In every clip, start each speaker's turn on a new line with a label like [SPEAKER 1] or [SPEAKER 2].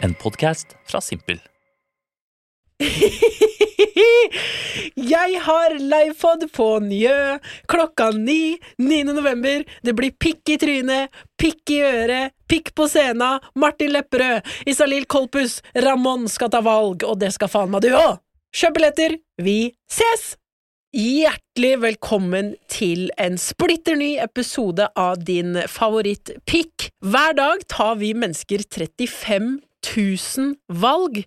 [SPEAKER 1] En podkast fra Simpel.
[SPEAKER 2] Jeg har livepod på Njø klokka ni 9. november. Det blir pikk i trynet, pikk i øret, pikk på scena. Martin Lepperød, Isalill Kolpus, Ramón skal ta valg, og det skal faen meg du òg! Kjøp billetter, vi ses! Hjertelig velkommen til en splitter ny episode av din favorittpikk. Hver dag tar vi mennesker 35 000 valg,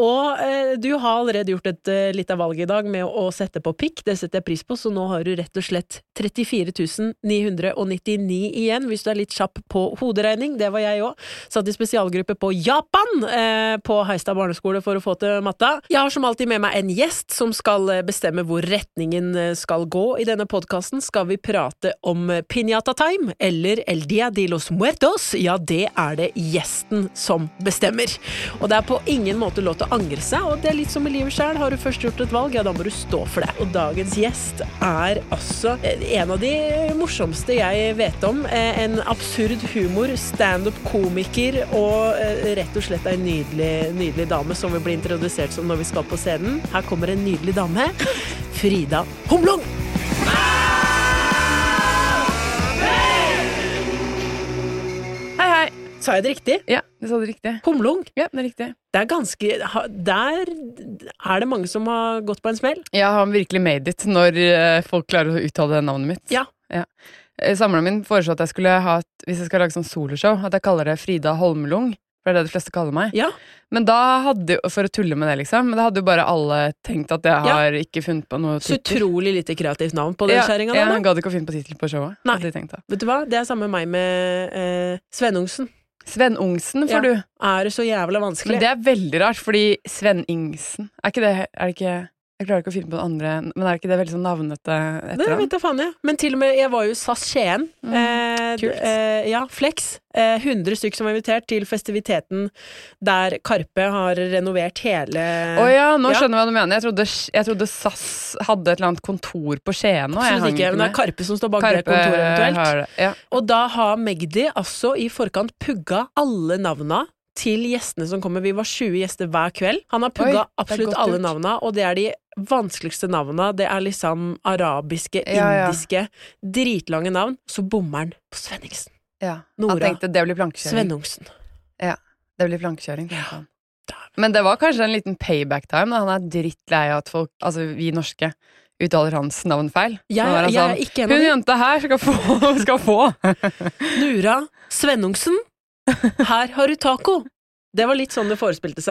[SPEAKER 2] og eh, du har allerede gjort et eh, lite valg i dag med å, å sette på pikk, det setter jeg pris på, så nå har du rett og slett 34 999 igjen, hvis du er litt kjapp på hoderegning, det var jeg òg. Satt i spesialgruppe på Japan eh, på Heistad barneskole for å få til matta. Jeg har som alltid med meg en gjest som skal eh, bestemme hvor retningen eh, skal gå. I denne podkasten skal vi prate om eh, Piñata Time, eller El Dia de los Muertos. Ja, det er det gjesten som bestemmer. Og det er på ingen måte lov til å angre seg, og det er litt som i livet sjøl. Har du først gjort et valg, ja, da må du stå for det. Og dagens gjest er altså eh, en av de morsomste jeg vet om. Eh, En absurd humor, standup-komiker og eh, rett og slett ei nydelig, nydelig dame som vi blir introdusert som når vi skal på scenen. Her kommer en nydelig dame. Frida Humlung!
[SPEAKER 3] Hei, hei.
[SPEAKER 2] Sa jeg det riktig?
[SPEAKER 3] Ja, du sa det riktig.
[SPEAKER 2] Humlung.
[SPEAKER 3] Ja, det er riktig.
[SPEAKER 2] Det er ganske ha- Der er det mange som har gått på en smell.
[SPEAKER 3] Jeg har virkelig made it når eh, folk klarer å uttale navnet mitt.
[SPEAKER 2] Ja.
[SPEAKER 3] Eh, Samleren min foreslo at jeg skulle ha et, hvis jeg skal lage sånn soloshow, at jeg kaller det Frida Holmlung. For det er det de fleste kaller meg.
[SPEAKER 2] Ja.
[SPEAKER 3] Men da hadde jo, for å tulle med det, liksom, men da hadde jo bare alle tenkt at jeg har ikke funnet på noe
[SPEAKER 2] Så
[SPEAKER 3] tittel.
[SPEAKER 2] utrolig lite kreativt navn på den
[SPEAKER 3] Ja,
[SPEAKER 2] kjerringa
[SPEAKER 3] ja,
[SPEAKER 2] der, da.
[SPEAKER 3] han gadd ikke å finne på tittel på showet.
[SPEAKER 2] Nei.
[SPEAKER 3] hadde de tenkt da.
[SPEAKER 2] Vet du hva, det er samme med meg med eh, Svennungsen.
[SPEAKER 3] Sven Ungsen
[SPEAKER 2] Ja,
[SPEAKER 3] får du.
[SPEAKER 2] Er det så jævla vanskelig?
[SPEAKER 3] Men det er veldig rart, fordi Sven Ingsen Er ikke det Er det ikke Jeg klarer ikke å finne på det andre, men er det ikke det veldig sånn navnete etter
[SPEAKER 2] Det vet jeg faen, jeg. Men til og med, jeg var jo i SAS Skien.
[SPEAKER 3] Mm,
[SPEAKER 2] Eh, d-
[SPEAKER 3] kult.
[SPEAKER 2] eh, ja, Flex. Eh, 100 stykk som var invitert til festiviteten der Karpe har renovert hele
[SPEAKER 3] Å ja, nå
[SPEAKER 2] Eh, ja.
[SPEAKER 3] skjønner jeg hva du mener. Jeg trodde, jeg trodde SAS hadde et eller annet kontor på Skien nå. Jeg
[SPEAKER 2] Absolutt
[SPEAKER 3] hang
[SPEAKER 2] ikke, men det er
[SPEAKER 3] med. eh,
[SPEAKER 2] Karpe som står bak det kontoret eventuelt.
[SPEAKER 3] har det. Ja.
[SPEAKER 2] Og da har Magdi altså i forkant pugga alle navna til gjestene som kommer. Vi var 20 gjester hver kveld. Han har
[SPEAKER 3] Oi, det
[SPEAKER 2] pugga
[SPEAKER 3] er
[SPEAKER 2] absolutt
[SPEAKER 3] godt
[SPEAKER 2] alle
[SPEAKER 3] gjort.
[SPEAKER 2] navna, og det er de vanskeligste navna. Det er liksom arabiske,
[SPEAKER 3] Ja, ja.
[SPEAKER 2] indiske, dritlange navn. Så bommer han på Svenningsen.
[SPEAKER 3] Ja.
[SPEAKER 2] Nora.
[SPEAKER 3] Han tenkte det blir plankekjøring.
[SPEAKER 2] Svennungsen.
[SPEAKER 3] Det blir plankekjøring tenkte han.
[SPEAKER 2] Dæven.
[SPEAKER 3] Men det var kanskje en liten payback time. Da. Han er drittlei av at folk, altså vi norske, uttaler hans navn feil.
[SPEAKER 2] Jeg,
[SPEAKER 3] Nå er han
[SPEAKER 2] jeg er
[SPEAKER 3] sånn,
[SPEAKER 2] ikke en av
[SPEAKER 3] Hun
[SPEAKER 2] de.
[SPEAKER 3] jenta her skal få! Skal få.
[SPEAKER 2] Nura Svennungsen. Her har du taco! Det var litt sånn det forespilte seg.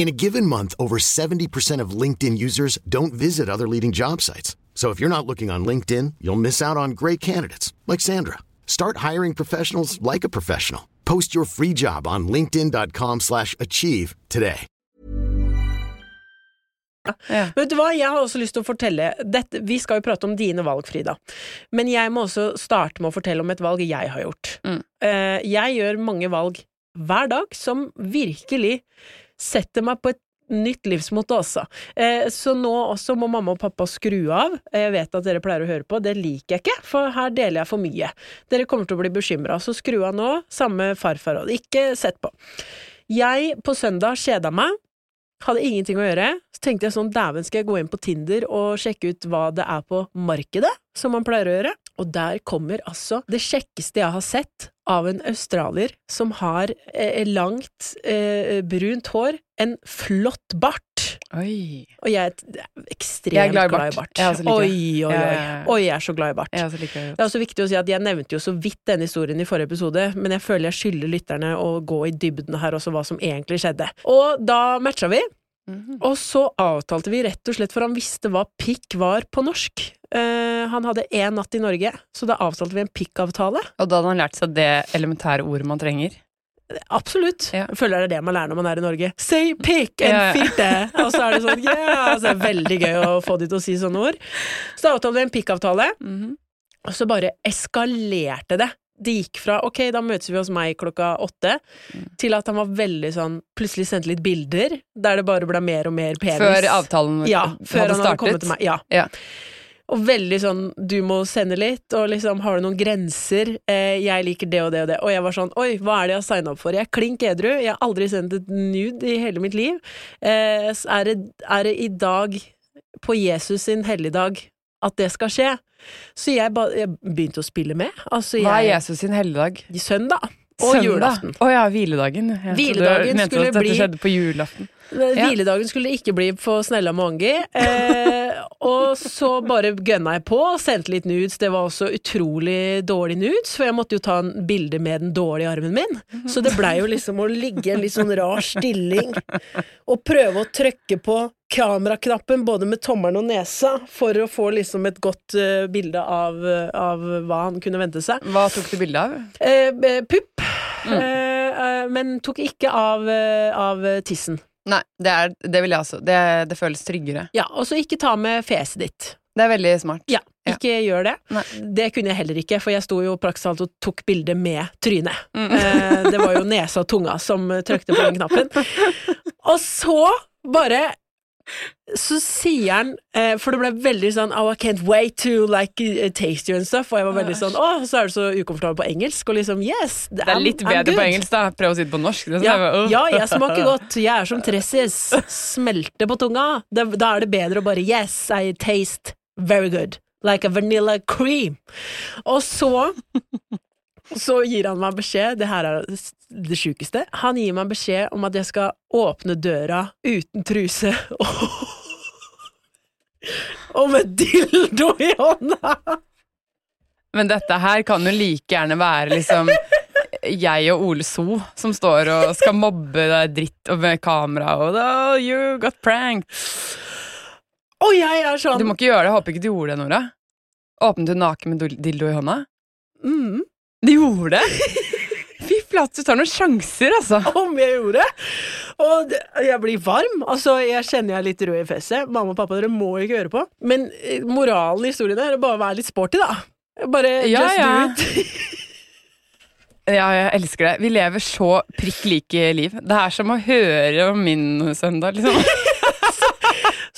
[SPEAKER 4] In a given month, over 70% of LinkedIn users don't visit other leading job sites. So if you're not looking on LinkedIn, you'll miss out on great candidates like Sandra. Start hiring professionals like a professional. Post your free job on linkedin.com/achieve slash achieve today.
[SPEAKER 3] Ja.
[SPEAKER 2] Vet du hva, jeg har også lyst til å fortelle dette, Vi skal jo prate om dine valg, Frida. Men jeg må også starte med å fortelle om et valg jeg har gjort.
[SPEAKER 3] Mm.
[SPEAKER 2] Eh, jeg gjør mange valg hver dag som virkelig setter meg på et Nytt livsmote, altså. Eh, så nå også må mamma og pappa skru av. Jeg vet at dere pleier å høre på, det liker jeg ikke, for her deler jeg for mye. Dere kommer til å bli bekymra, så skru av nå. Samme farfar og Ikke sett på. Jeg på søndag kjeda meg. Hadde ingenting å gjøre. Så tenkte jeg sånn, dæven skal jeg gå inn på Tinder og sjekke ut hva det er på markedet, som man pleier å gjøre. Og der kommer altså det kjekkeste jeg har sett av en australier som har eh, langt, eh, brunt hår, en flott bart.
[SPEAKER 3] Oi.
[SPEAKER 2] Og jeg er et- ekstremt
[SPEAKER 3] Jeg er glad i
[SPEAKER 2] glad i
[SPEAKER 3] bart.
[SPEAKER 2] bart.
[SPEAKER 3] Jeg også liker
[SPEAKER 2] oi,
[SPEAKER 3] det.
[SPEAKER 2] oi,
[SPEAKER 3] Ja,
[SPEAKER 2] oi.
[SPEAKER 3] ja, ja.
[SPEAKER 2] Oi, jeg er så glad i bart.
[SPEAKER 3] Jeg også liker det.
[SPEAKER 2] Det er også viktig å si at Jeg nevnte jo så vidt denne historien i forrige episode, men jeg føler jeg skylder lytterne å gå i dybden her også, hva som egentlig skjedde. Og da matcha vi,
[SPEAKER 3] Mhm.
[SPEAKER 2] og så avtalte vi rett og slett, for han visste hva pikk var på norsk. Eh, han hadde én natt i Norge, så da avtalte vi en pikkavtale.
[SPEAKER 3] Og da hadde han lært seg det elementære ordet man trenger.
[SPEAKER 2] Absolutt.
[SPEAKER 3] Ja.
[SPEAKER 2] Jeg Føler det er det man lærer når man er i Norge. Say pick and
[SPEAKER 3] Ja, ja.
[SPEAKER 2] fitte! Og så er det sånn, yeah! så det er veldig gøy å få de til å si sånne ord. Så da avtalte vi en pikkavtale,
[SPEAKER 3] Mhm.
[SPEAKER 2] og så bare eskalerte det. Det gikk fra ok, da møtes vi hos meg klokka åtte,
[SPEAKER 3] Mm.
[SPEAKER 2] til at han var veldig sånn Plutselig sendte litt bilder der det bare ble mer og mer penis.
[SPEAKER 3] Før avtalen
[SPEAKER 2] ja, før
[SPEAKER 3] hadde
[SPEAKER 2] han hadde kommet
[SPEAKER 3] startet.
[SPEAKER 2] til meg. Ja.
[SPEAKER 3] Ja.
[SPEAKER 2] Og veldig sånn 'du må sende litt', og liksom 'har du noen grenser', eh, 'jeg liker det og det og det'. Og jeg var sånn 'oi, hva er det jeg har signa opp for'? Jeg er klink edru, jeg har aldri sendt et nude i hele mitt liv. Eh, så er, det, er det i dag, på Jesus sin helligdag, at det skal skje? Så jeg, ba, jeg begynte å spille med. Altså,
[SPEAKER 3] Hva er
[SPEAKER 2] jeg,
[SPEAKER 3] Jesus sin helligdag?
[SPEAKER 2] søndag og
[SPEAKER 3] Søndag?
[SPEAKER 2] julaften.
[SPEAKER 3] Å ja, hviledagen. Jeg trodde
[SPEAKER 2] Hviledagen
[SPEAKER 3] du mente
[SPEAKER 2] skulle
[SPEAKER 3] at dette
[SPEAKER 2] bli-
[SPEAKER 3] skjedde på julaften. Ja.
[SPEAKER 2] Hviledagen skulle ikke bli på Snella Mångi. Eh, og så bare gønna jeg på, sendte litt nudes. Det var også utrolig dårlig nudes, for jeg måtte jo ta en bilde med den dårlige armen min. Så det blei jo liksom å ligge i en litt sånn rar stilling og prøve å trykke på kameraknappen både med tommelen og nesa for å få liksom et godt eh, bilde av, av hva han kunne vente seg.
[SPEAKER 3] Hva tok du bilde av?
[SPEAKER 2] Eh, eh, Pupp. Eh, eh, men tok ikke av, eh, av tissen.
[SPEAKER 3] Nei, det, er, det vil jeg også. Det, det føles tryggere.
[SPEAKER 2] Ja, og så ikke ta med fjeset ditt.
[SPEAKER 3] Det er veldig smart.
[SPEAKER 2] Ja,
[SPEAKER 3] Ja.
[SPEAKER 2] ikke gjør det.
[SPEAKER 3] Nei.
[SPEAKER 2] Det kunne jeg heller ikke, for jeg sto jo praktisk talt og tok bilde med trynet.
[SPEAKER 3] Mm.
[SPEAKER 2] Eh, det var jo nesa og tunga som eh, trykte på den knappen. Og så bare så sier han, eh, for det ble veldig sånn Oh, I can't wait to like eh, taste you and stuff. Og jeg var veldig sånn Å, så er du så ukomfortabel på engelsk. Og liksom Yes,
[SPEAKER 3] Det er litt bedre på engelsk, da. Prøv å si det på norsk. Det er sånn,
[SPEAKER 2] Ja,
[SPEAKER 3] jeg bare, «Åh».
[SPEAKER 2] ja, jeg smaker godt. Jeg er som tressis. Smelter på tunga. Da, da er det bedre å bare Yes, I taste very good. Like a vanilla cream. Og så så gir han meg beskjed, det her er det sjukeste, han gir meg beskjed om at jeg skal åpne døra uten truse og, og med dildo i hånda!
[SPEAKER 3] Men dette her kan jo like gjerne være liksom jeg og Ole So som står og skal mobbe deg dritt og med kamera og oh, you got pranked.
[SPEAKER 2] Og jeg er sånn
[SPEAKER 3] Du må ikke gjøre det. Jeg håper ikke du gjorde det, Nora. Åpnet du naken med dil- dildo i hånda?
[SPEAKER 2] mm,
[SPEAKER 3] Du gjorde det? Fy flate, du tar noen sjanser, altså.
[SPEAKER 2] om jeg gjorde. Og det- jeg blir varm. Altså, jeg kjenner jeg er litt rød i fjeset. Mamma og pappa, dere må ikke høre på. Men eh, moralen i historien er å bare være litt sporty, da. Bare
[SPEAKER 3] Ja,
[SPEAKER 2] just
[SPEAKER 3] ja.
[SPEAKER 2] do it.
[SPEAKER 3] Ja, jeg elsker det. Vi lever så prikk like liv. Det er som å høre om min søndag, liksom.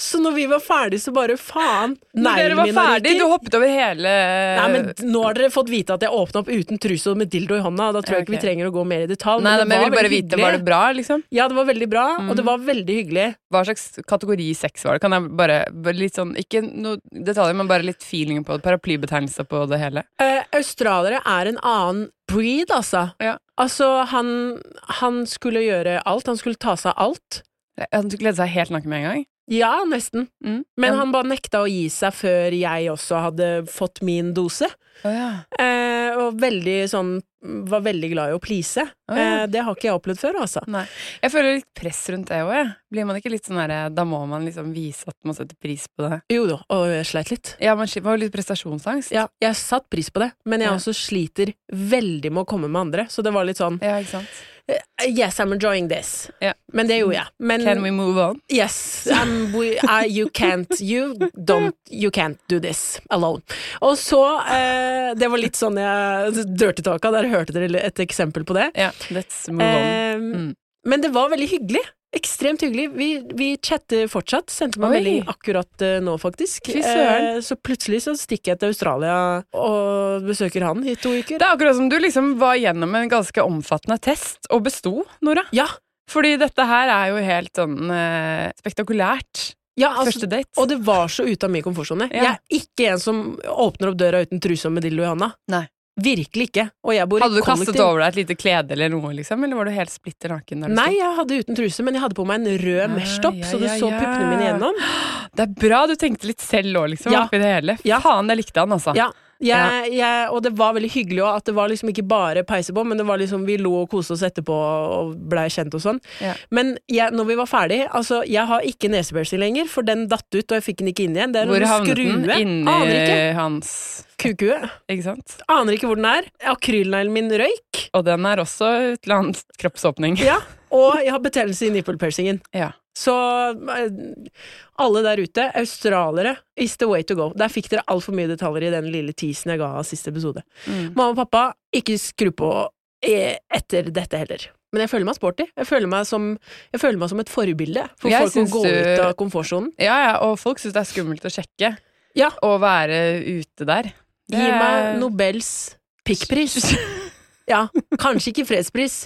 [SPEAKER 2] Så når vi var ferdig, så bare faen.
[SPEAKER 3] Når dere
[SPEAKER 2] Neglen
[SPEAKER 3] var
[SPEAKER 2] min har
[SPEAKER 3] ferdig, du
[SPEAKER 2] ryket.
[SPEAKER 3] hoppet over hele
[SPEAKER 2] Nei, men nå har dere fått vite at jeg åpna opp uten truse og med dildo i hånda. Da tror jeg ikke vi
[SPEAKER 3] Ok.
[SPEAKER 2] trenger å gå mer i detalj.
[SPEAKER 3] Nei, da, men jeg ville
[SPEAKER 2] var
[SPEAKER 3] bare
[SPEAKER 2] veldig
[SPEAKER 3] vite, var det Mm.
[SPEAKER 2] hyggelig.
[SPEAKER 3] bra, liksom?
[SPEAKER 2] Ja, det var veldig bra, og det var veldig hyggelig.
[SPEAKER 3] Hva slags kategori sex var det? Kan jeg bare, bare litt sånn, ikke noe detaljer, men bare litt feelingen på det, paraplybetegnelse på det hele?
[SPEAKER 2] Eh, australiere er en annen breed, altså.
[SPEAKER 3] Ja.
[SPEAKER 2] Altså, han, han skulle gjøre alt. Han skulle ta seg av alt.
[SPEAKER 3] Han glede seg helt naken med en gang.
[SPEAKER 2] Ja, nesten.
[SPEAKER 3] Mm.
[SPEAKER 2] Men
[SPEAKER 3] Ja.
[SPEAKER 2] han bare nekta å gi seg før jeg også hadde fått min dose.
[SPEAKER 3] Å ja.
[SPEAKER 2] Eh, og veldig sånn Var veldig glad i å please.
[SPEAKER 3] Å, ja.
[SPEAKER 2] eh, det har ikke jeg opplevd før, altså.
[SPEAKER 3] Nei. Jeg føler litt press rundt det òg, jeg. Blir man ikke litt sånn derre Da må man liksom vise at man setter pris på det.
[SPEAKER 2] Jo da, og jeg sleit litt.
[SPEAKER 3] Ja, man slipper- man har jo litt prestasjonsangst.
[SPEAKER 2] Ja, jeg satt pris på det, men jeg
[SPEAKER 3] Ja.
[SPEAKER 2] også sliter veldig med å komme med andre. Så det var litt sånn
[SPEAKER 3] Ja, ikke sant.
[SPEAKER 2] eh, Yes, I'm enjoying this.
[SPEAKER 3] Ja.
[SPEAKER 2] Men det gjorde jeg. Men
[SPEAKER 3] Can we move on?
[SPEAKER 2] Yes, um, we, I- you can't you, don't, you can't do this alone. Og så eh, Det var litt sånn jeg dirty talka, der hørte dere et eksempel på det.
[SPEAKER 3] Ja, let's move on.
[SPEAKER 2] Eh,
[SPEAKER 3] Mm.
[SPEAKER 2] Men det var veldig hyggelig. Ekstremt hyggelig. Vi, vi chatter fortsatt. Sendte meg
[SPEAKER 3] Oi.
[SPEAKER 2] melding akkurat eh, nå, faktisk. Eh,
[SPEAKER 3] Fy søren.
[SPEAKER 2] så plutselig så stikker jeg til Australia og besøker han i to uker.
[SPEAKER 3] Det er akkurat som du liksom var gjennom en ganske omfattende test og besto, Nora.
[SPEAKER 2] Ja,
[SPEAKER 3] Fordi dette her er jo helt sånn eh, spektakulært.
[SPEAKER 2] ja altså,
[SPEAKER 3] Første date.
[SPEAKER 2] og det var så ute av min komfortsone.
[SPEAKER 3] Ja.
[SPEAKER 2] Jeg er ikke en som åpner opp døra uten truse og med dildo i hånda.
[SPEAKER 3] Nei.
[SPEAKER 2] Virkelig ikke. Og jeg bor i
[SPEAKER 3] hadde du
[SPEAKER 2] kollektiv.
[SPEAKER 3] kastet over deg et lite klede eller noe, liksom? Eller var du helt splitter naken? der du
[SPEAKER 2] Nei, jeg hadde uten truse, men jeg hadde på meg en rød
[SPEAKER 3] Ah,
[SPEAKER 2] mesh-topp,
[SPEAKER 3] ja,
[SPEAKER 2] så du
[SPEAKER 3] ja,
[SPEAKER 2] så
[SPEAKER 3] ja.
[SPEAKER 2] puppene mine igjennom.
[SPEAKER 3] sto? Det er bra du tenkte litt selv òg, liksom.
[SPEAKER 2] Ja.
[SPEAKER 3] Oppi det hele.
[SPEAKER 2] Ja.
[SPEAKER 3] Faen, jeg likte han, altså.
[SPEAKER 2] Ja. Jeg, jeg, og det var veldig hyggelig òg, at det var liksom ikke bare peisebom, men det var liksom vi lo og koste oss etterpå og blei kjent og sånn.
[SPEAKER 3] Ja.
[SPEAKER 2] Men jeg, når vi var ferdig Altså, jeg har ikke nesepiercing lenger, for den datt ut, og jeg fikk den ikke inn igjen. Det er
[SPEAKER 3] Hvor
[SPEAKER 2] en
[SPEAKER 3] havnet den?
[SPEAKER 2] skrue. Aner ikke.
[SPEAKER 3] Inni hans
[SPEAKER 2] Kukue.
[SPEAKER 3] Ikke sant?
[SPEAKER 2] Aner ikke hvor den er. Akrylneglen min røyk.
[SPEAKER 3] Og den er også et eller annet kroppsåpning.
[SPEAKER 2] Ja, og jeg har betennelse i nippelpiercingen.
[SPEAKER 3] Ja.
[SPEAKER 2] Så eh, alle der ute, australere is the way to go. Der fikk dere altfor mye detaljer i den lille teasen jeg ga av siste episode.
[SPEAKER 3] Mm.
[SPEAKER 2] Mamma og pappa, ikke skru på eh, etter dette heller. Men jeg føler meg sporty. Jeg føler meg som, jeg føler meg som et forbilde for
[SPEAKER 3] Jeg
[SPEAKER 2] folk
[SPEAKER 3] syns
[SPEAKER 2] å gå
[SPEAKER 3] du-
[SPEAKER 2] ut av komfortsonen.
[SPEAKER 3] ja, ja, og folk syns det er skummelt å sjekke.
[SPEAKER 2] Ja.
[SPEAKER 3] Å være ute der. Det
[SPEAKER 2] Gi
[SPEAKER 3] er-
[SPEAKER 2] meg Nobels pikkpris. Ja, kanskje ikke fredspris,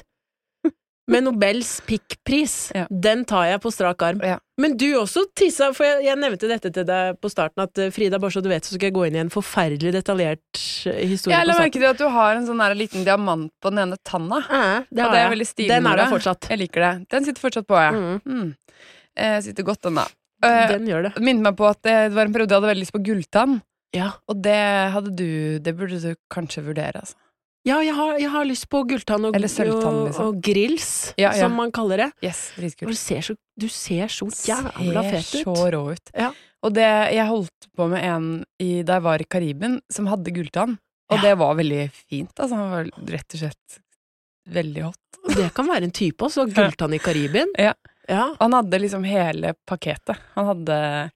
[SPEAKER 2] men Nobels pikkpris.
[SPEAKER 3] Ja.
[SPEAKER 2] Den tar jeg på strak arm.
[SPEAKER 3] Ja.
[SPEAKER 2] Men du også tissa, for jeg, jeg nevnte dette til deg på starten, at eh, Frida, bare så du vet, så skal jeg gå inn i en forferdelig detaljert eh, historie
[SPEAKER 3] Jeg
[SPEAKER 2] på
[SPEAKER 3] la
[SPEAKER 2] starten.
[SPEAKER 3] merke til at du har en sånn der liten diamant på den ene tanna.
[SPEAKER 2] Ja, det
[SPEAKER 3] og
[SPEAKER 2] har
[SPEAKER 3] det er
[SPEAKER 2] jeg.
[SPEAKER 3] veldig stilig.
[SPEAKER 2] Den er
[SPEAKER 3] Nora.
[SPEAKER 2] der fortsatt.
[SPEAKER 3] Jeg liker det. Den sitter fortsatt på, ja.
[SPEAKER 2] Mm.
[SPEAKER 3] Mm. Eh, sitter godt, den da. Eh,
[SPEAKER 2] Den gjør det.
[SPEAKER 3] det minnet meg på at det var en periode jeg hadde veldig lyst på gulltann.
[SPEAKER 2] Ja,
[SPEAKER 3] Og det hadde du Det burde du kanskje vurdere, altså.
[SPEAKER 2] ja jeg, har, jeg har lyst på gulltann og,
[SPEAKER 3] Eller sølvtann,
[SPEAKER 2] og-
[SPEAKER 3] liksom.
[SPEAKER 2] og grills,
[SPEAKER 3] Ja, ja.
[SPEAKER 2] som man kaller det.
[SPEAKER 3] Yes,
[SPEAKER 2] Og
[SPEAKER 3] dritkult.
[SPEAKER 2] Du ser så, du ser så jævla
[SPEAKER 3] Ser
[SPEAKER 2] fet
[SPEAKER 3] så
[SPEAKER 2] ut.
[SPEAKER 3] rå ut.
[SPEAKER 2] Ja.
[SPEAKER 3] Og det Jeg holdt på med en i, da jeg var i Kariben, som hadde gulltann. Og
[SPEAKER 2] Ja.
[SPEAKER 3] det var veldig fint, altså. Han var rett og slett veldig hot.
[SPEAKER 2] Det kan være en type også. Gulltann i Karibien.
[SPEAKER 3] Ja.
[SPEAKER 2] ja.
[SPEAKER 3] Han hadde liksom hele pakketet. Han hadde,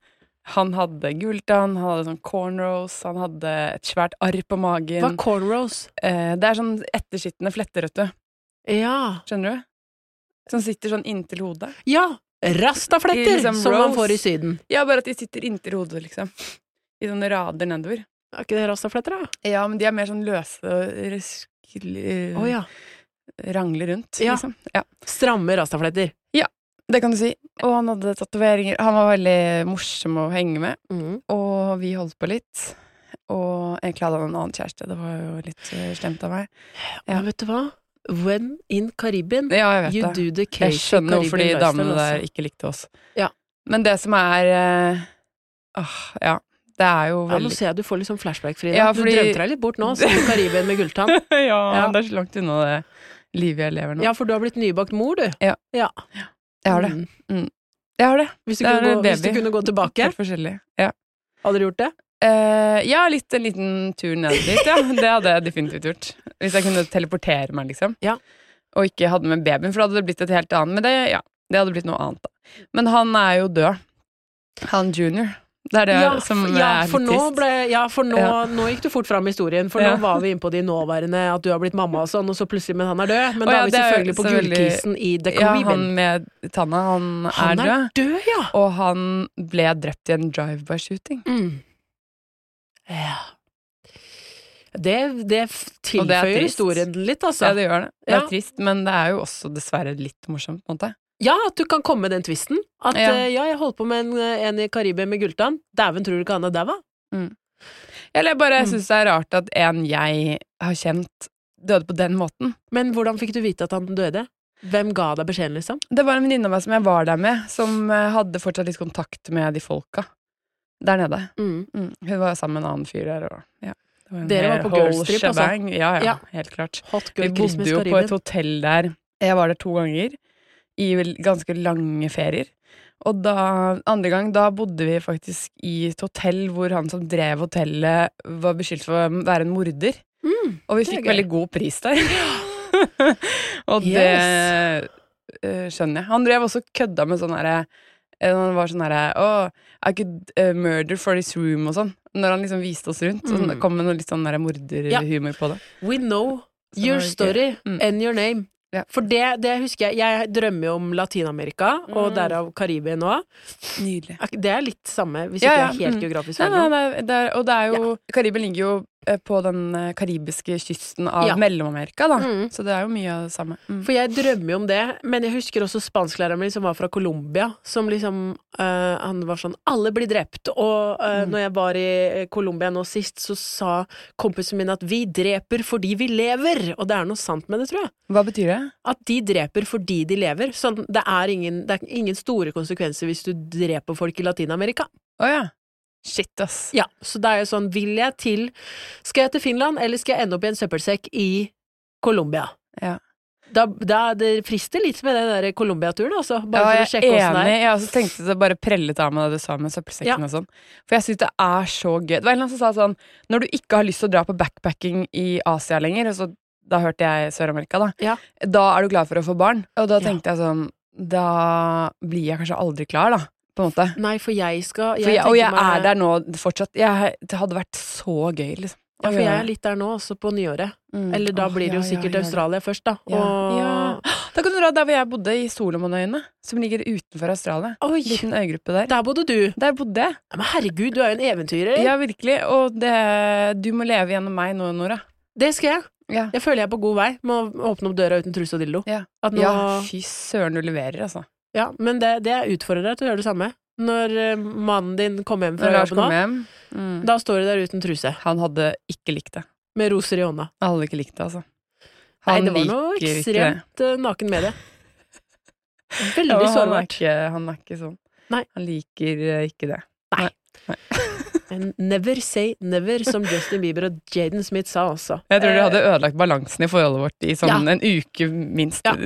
[SPEAKER 3] han hadde gulltann, han hadde sånn cornrows, han hadde et svært arr på
[SPEAKER 2] Hva
[SPEAKER 3] magen.
[SPEAKER 2] er cornrows?
[SPEAKER 3] Eh, det er sånn ettersittende fletter, vet du.
[SPEAKER 2] Ja.
[SPEAKER 3] Skjønner du? Som sitter sånn inntil hodet.
[SPEAKER 2] ja. Rastafletter,
[SPEAKER 3] I liksom
[SPEAKER 2] som man
[SPEAKER 3] rows.
[SPEAKER 2] får i Syden.
[SPEAKER 3] Ja, bare at de sitter inntil hodet, liksom. I sånne rader nedover.
[SPEAKER 2] Er ikke det rastafletter, da?
[SPEAKER 3] Ja, men de er mer sånn løse og røskelig
[SPEAKER 2] Å ja.
[SPEAKER 3] Rangler rundt,
[SPEAKER 2] Ja.
[SPEAKER 3] liksom. Ja.
[SPEAKER 2] Stramme rastafletter.
[SPEAKER 3] Det kan du si. Og han hadde tatoveringer. Han var veldig morsom å henge med. Og vi holdt på litt. Og egentlig hadde han en annen kjæreste. Det var jo litt eh, slemt av meg. Ja.
[SPEAKER 2] Og vet du hva? When in Karibien,
[SPEAKER 3] Ja, jeg vet
[SPEAKER 2] you
[SPEAKER 3] det.
[SPEAKER 2] do the
[SPEAKER 3] Jeg
[SPEAKER 2] crazy Caribbean
[SPEAKER 3] skjønner hvorfor de
[SPEAKER 2] lifestyle,
[SPEAKER 3] damene
[SPEAKER 2] altså.
[SPEAKER 3] der ikke likte oss.
[SPEAKER 2] Ja.
[SPEAKER 3] Men det som er eh, Åh, ja. Det er jo
[SPEAKER 2] Ja, nå
[SPEAKER 3] veldig
[SPEAKER 2] ser jeg du får litt sånn flashback, Frida.
[SPEAKER 3] Ja,
[SPEAKER 2] Du
[SPEAKER 3] fordi-
[SPEAKER 2] drømte deg litt bort nå, som i Karibien med gulltann.
[SPEAKER 3] ja,
[SPEAKER 2] Ja.
[SPEAKER 3] det er så langt unna det livet jeg lever nå. Mm.
[SPEAKER 2] Ja, for du har blitt nybakt mor, du.
[SPEAKER 3] Ja. Jeg har det.
[SPEAKER 2] Mm.
[SPEAKER 3] Jeg har det.
[SPEAKER 2] Hvis du,
[SPEAKER 3] Det er
[SPEAKER 2] kunne
[SPEAKER 3] en
[SPEAKER 2] gå, hvis du
[SPEAKER 3] baby.
[SPEAKER 2] kunne gå tilbake,
[SPEAKER 3] Helt forskjellig. Ja.
[SPEAKER 2] hadde du gjort det?
[SPEAKER 3] Eh, ja, litt, en liten tur ned dit, ja. Det hadde jeg definitivt gjort. Hvis jeg kunne teleportere meg, liksom.
[SPEAKER 2] Ja.
[SPEAKER 3] Og ikke hadde med babyen, for da hadde det blitt et helt annet. Men det, ja, det hadde blitt noe annet, da. Men han er jo død. Han junior. Det er det
[SPEAKER 2] Ja,
[SPEAKER 3] som
[SPEAKER 2] f- ja,
[SPEAKER 3] er
[SPEAKER 2] for
[SPEAKER 3] litt
[SPEAKER 2] nå
[SPEAKER 3] trist.
[SPEAKER 2] ble, ja, for nå,
[SPEAKER 3] Ja.
[SPEAKER 2] nå gikk du fort fram i historien, for
[SPEAKER 3] Ja.
[SPEAKER 2] nå var vi inne på de nåværende, at du har blitt mamma og sånn, og så plutselig, men han er død. Men
[SPEAKER 3] Å
[SPEAKER 2] da
[SPEAKER 3] ja,
[SPEAKER 2] er vi
[SPEAKER 3] det er
[SPEAKER 2] selvfølgelig på
[SPEAKER 3] så veldig-
[SPEAKER 2] gullkisen i The
[SPEAKER 3] Ja,
[SPEAKER 2] Caribbean.
[SPEAKER 3] han med tanna, han,
[SPEAKER 2] han
[SPEAKER 3] er død.
[SPEAKER 2] død, ja!
[SPEAKER 3] Og han ble drept i en drive-by-shooting.
[SPEAKER 2] ja. Det, det f-
[SPEAKER 3] Og det er
[SPEAKER 2] tilføyer
[SPEAKER 3] trist.
[SPEAKER 2] historien litt, altså.
[SPEAKER 3] Ja,
[SPEAKER 2] Ja,
[SPEAKER 3] det gjør det. Det er
[SPEAKER 2] Ja.
[SPEAKER 3] trist, men det er jo også dessverre litt morsomt, på en måte.
[SPEAKER 2] at du kan komme med den tvisten. At
[SPEAKER 3] Ja.
[SPEAKER 2] ja, ja jeg holdt på med en, eh, en i Karibia med gulltann. Dæven, tror du ikke han er daua?
[SPEAKER 3] Eller jeg bare
[SPEAKER 2] Mm.
[SPEAKER 3] syns det er rart at en jeg har kjent, døde på den måten.
[SPEAKER 2] Men hvordan fikk du vite at han døde? Hvem ga deg beskjeden, liksom?
[SPEAKER 3] Det var en venninne av meg som jeg var der med, som eh, hadde fortsatt litt kontakt med de folka der nede. Mm. Hun var sammen med en annen fyr der. Og, ja. Det en
[SPEAKER 2] Dere var
[SPEAKER 3] hel-
[SPEAKER 2] på girls
[SPEAKER 3] whole
[SPEAKER 2] trip, altså?
[SPEAKER 3] shebang. Ja, ja,
[SPEAKER 2] Ja.
[SPEAKER 3] helt klart.
[SPEAKER 2] Hot
[SPEAKER 3] Vi
[SPEAKER 2] girl
[SPEAKER 3] bodde
[SPEAKER 2] Christmas
[SPEAKER 3] jo på
[SPEAKER 2] Karibien.
[SPEAKER 3] et hotell der. Jeg var der to ganger i vel- ganske lange ferier. Og da, andre gang, da bodde vi faktisk i et hotell hvor han som drev hotellet, var beskyldt for å være en morder. Og
[SPEAKER 2] Mm,
[SPEAKER 3] vi
[SPEAKER 2] det er
[SPEAKER 3] fikk
[SPEAKER 2] gøy.
[SPEAKER 3] veldig god pris der. og det eh, skjønner jeg. Han drev også og kødda med sånn herre eh, Han var sånn herre oh, I could eh, murder for this room og sånn. Når han liksom viste oss rundt. Og sånn, kom med noe litt sånn derre
[SPEAKER 2] Mm. Ja.
[SPEAKER 3] morderhumor på det.
[SPEAKER 2] We know
[SPEAKER 3] Så
[SPEAKER 2] your
[SPEAKER 3] var det
[SPEAKER 2] story
[SPEAKER 3] Mm.
[SPEAKER 2] and your name.
[SPEAKER 3] Ja.
[SPEAKER 2] For det, det husker jeg. Jeg drømmer jo om Latin-Amerika,
[SPEAKER 3] Mm.
[SPEAKER 2] og derav Karibia nå.
[SPEAKER 3] Nydelig.
[SPEAKER 2] Er ikke- Det er litt samme, hvis
[SPEAKER 3] Ja,
[SPEAKER 2] ikke
[SPEAKER 3] ja,
[SPEAKER 2] det er helt
[SPEAKER 3] mm.
[SPEAKER 2] geografisk.
[SPEAKER 3] Nei,
[SPEAKER 2] feil nå.
[SPEAKER 3] nei, nei, det er, og det er jo Karibien ligger jo eh, på den eh, karibiske kysten av
[SPEAKER 2] Ja.
[SPEAKER 3] Mellom-Amerika, da.
[SPEAKER 2] Mm.
[SPEAKER 3] Så det er jo mye av det samme. Mm.
[SPEAKER 2] For jeg drømmer jo om det, men jeg husker også spansklæreren min som var fra Colombia, som liksom eh, Han var sånn 'alle blir drept', og eh,
[SPEAKER 3] Mm.
[SPEAKER 2] når jeg var i eh, Colombia nå sist, så sa kompisen min at 'vi dreper fordi vi lever', og det er noe sant med det, tror jeg.
[SPEAKER 3] Hva betyr det?
[SPEAKER 2] At de dreper fordi de lever. Sånn, det, er ingen, det er ingen store konsekvenser hvis du dreper folk i Latin-Amerika.
[SPEAKER 3] Å ja. Shit, ass.
[SPEAKER 2] Ja, så det er jo sånn, vil jeg til Skal jeg til Finland, eller skal jeg ende opp i en søppelsekk i Colombia?
[SPEAKER 3] Ja.
[SPEAKER 2] Da, da det frister litt med den der Colombia-turen, altså. Bare
[SPEAKER 3] Ja,
[SPEAKER 2] for å sjekke
[SPEAKER 3] jeg er
[SPEAKER 2] åssen det
[SPEAKER 3] enig.
[SPEAKER 2] er.
[SPEAKER 3] Jeg også tenkte det bare prellet av meg da du sa med søppelsekken
[SPEAKER 2] Ja.
[SPEAKER 3] og sånn. For jeg syns det er så gøy. Det var en eller annen som sa sånn Når du ikke har lyst til å dra på backpacking i Asia lenger, og så da hørte jeg Sør-Amerika, da,
[SPEAKER 2] Ja.
[SPEAKER 3] da er du glad for å få barn. Og da
[SPEAKER 2] Ja.
[SPEAKER 3] tenkte jeg sånn Da blir jeg kanskje aldri klar, da, på en måte.
[SPEAKER 2] Nei, for jeg skal
[SPEAKER 3] For jeg, og
[SPEAKER 2] tenker
[SPEAKER 3] jeg
[SPEAKER 2] meg-
[SPEAKER 3] er der nå fortsatt. Jeg, det hadde vært så gøy, liksom.
[SPEAKER 2] Ja, for
[SPEAKER 3] Å
[SPEAKER 2] jeg
[SPEAKER 3] gjøre
[SPEAKER 2] er
[SPEAKER 3] det.
[SPEAKER 2] litt der nå, også på nyåret.
[SPEAKER 3] Mm.
[SPEAKER 2] Eller da
[SPEAKER 3] Åh,
[SPEAKER 2] blir det jo
[SPEAKER 3] ja, ja,
[SPEAKER 2] sikkert
[SPEAKER 3] ja, ja.
[SPEAKER 2] Australia først, da.
[SPEAKER 3] Ja.
[SPEAKER 2] Og
[SPEAKER 3] Ja. Da kan du dra der hvor jeg bodde, i Solomonøyene, som ligger utenfor Australia.
[SPEAKER 2] Oi!
[SPEAKER 3] Liten øygruppe der.
[SPEAKER 2] Der bodde du!
[SPEAKER 3] Der bodde jeg.
[SPEAKER 2] Ja, Men herregud, du er jo en eventyrer!
[SPEAKER 3] Ja, virkelig. Og det, du må leve gjennom meg nå, Nora.
[SPEAKER 2] Det skal jeg.
[SPEAKER 3] Ja.
[SPEAKER 2] Jeg føler jeg er på god vei med å åpne opp døra uten truse og dildo.
[SPEAKER 3] Ja.
[SPEAKER 2] At nå, ja.
[SPEAKER 3] fy søren, du leverer, altså.
[SPEAKER 2] men det, det jeg utfordrer deg til å gjøre det samme. Når eh, mannen din kommer hjem fra
[SPEAKER 3] Når Lars
[SPEAKER 2] jobben
[SPEAKER 3] kom
[SPEAKER 2] nå,
[SPEAKER 3] hjem mm.
[SPEAKER 2] da står du der uten truse,
[SPEAKER 3] Han hadde ikke likt det.
[SPEAKER 2] med roser i hånda.
[SPEAKER 3] Han hadde ikke likt det, altså.
[SPEAKER 2] Nei,
[SPEAKER 3] Han
[SPEAKER 2] det var noe
[SPEAKER 3] liker ikke det.
[SPEAKER 2] ekstremt eh, naken med det.
[SPEAKER 3] Ja,
[SPEAKER 2] Veldig
[SPEAKER 3] men han, er
[SPEAKER 2] sårbart.
[SPEAKER 3] ikke, han er ikke sånn.
[SPEAKER 2] Nei.
[SPEAKER 3] Han liker eh, ikke det.
[SPEAKER 2] Men Never say never, som Justin Bieber og Jaden Smith sa også.
[SPEAKER 3] Jeg tror det
[SPEAKER 2] Eh,
[SPEAKER 3] hadde ødelagt balansen i forholdet vårt i sånn
[SPEAKER 2] Ja.
[SPEAKER 3] en uke minst.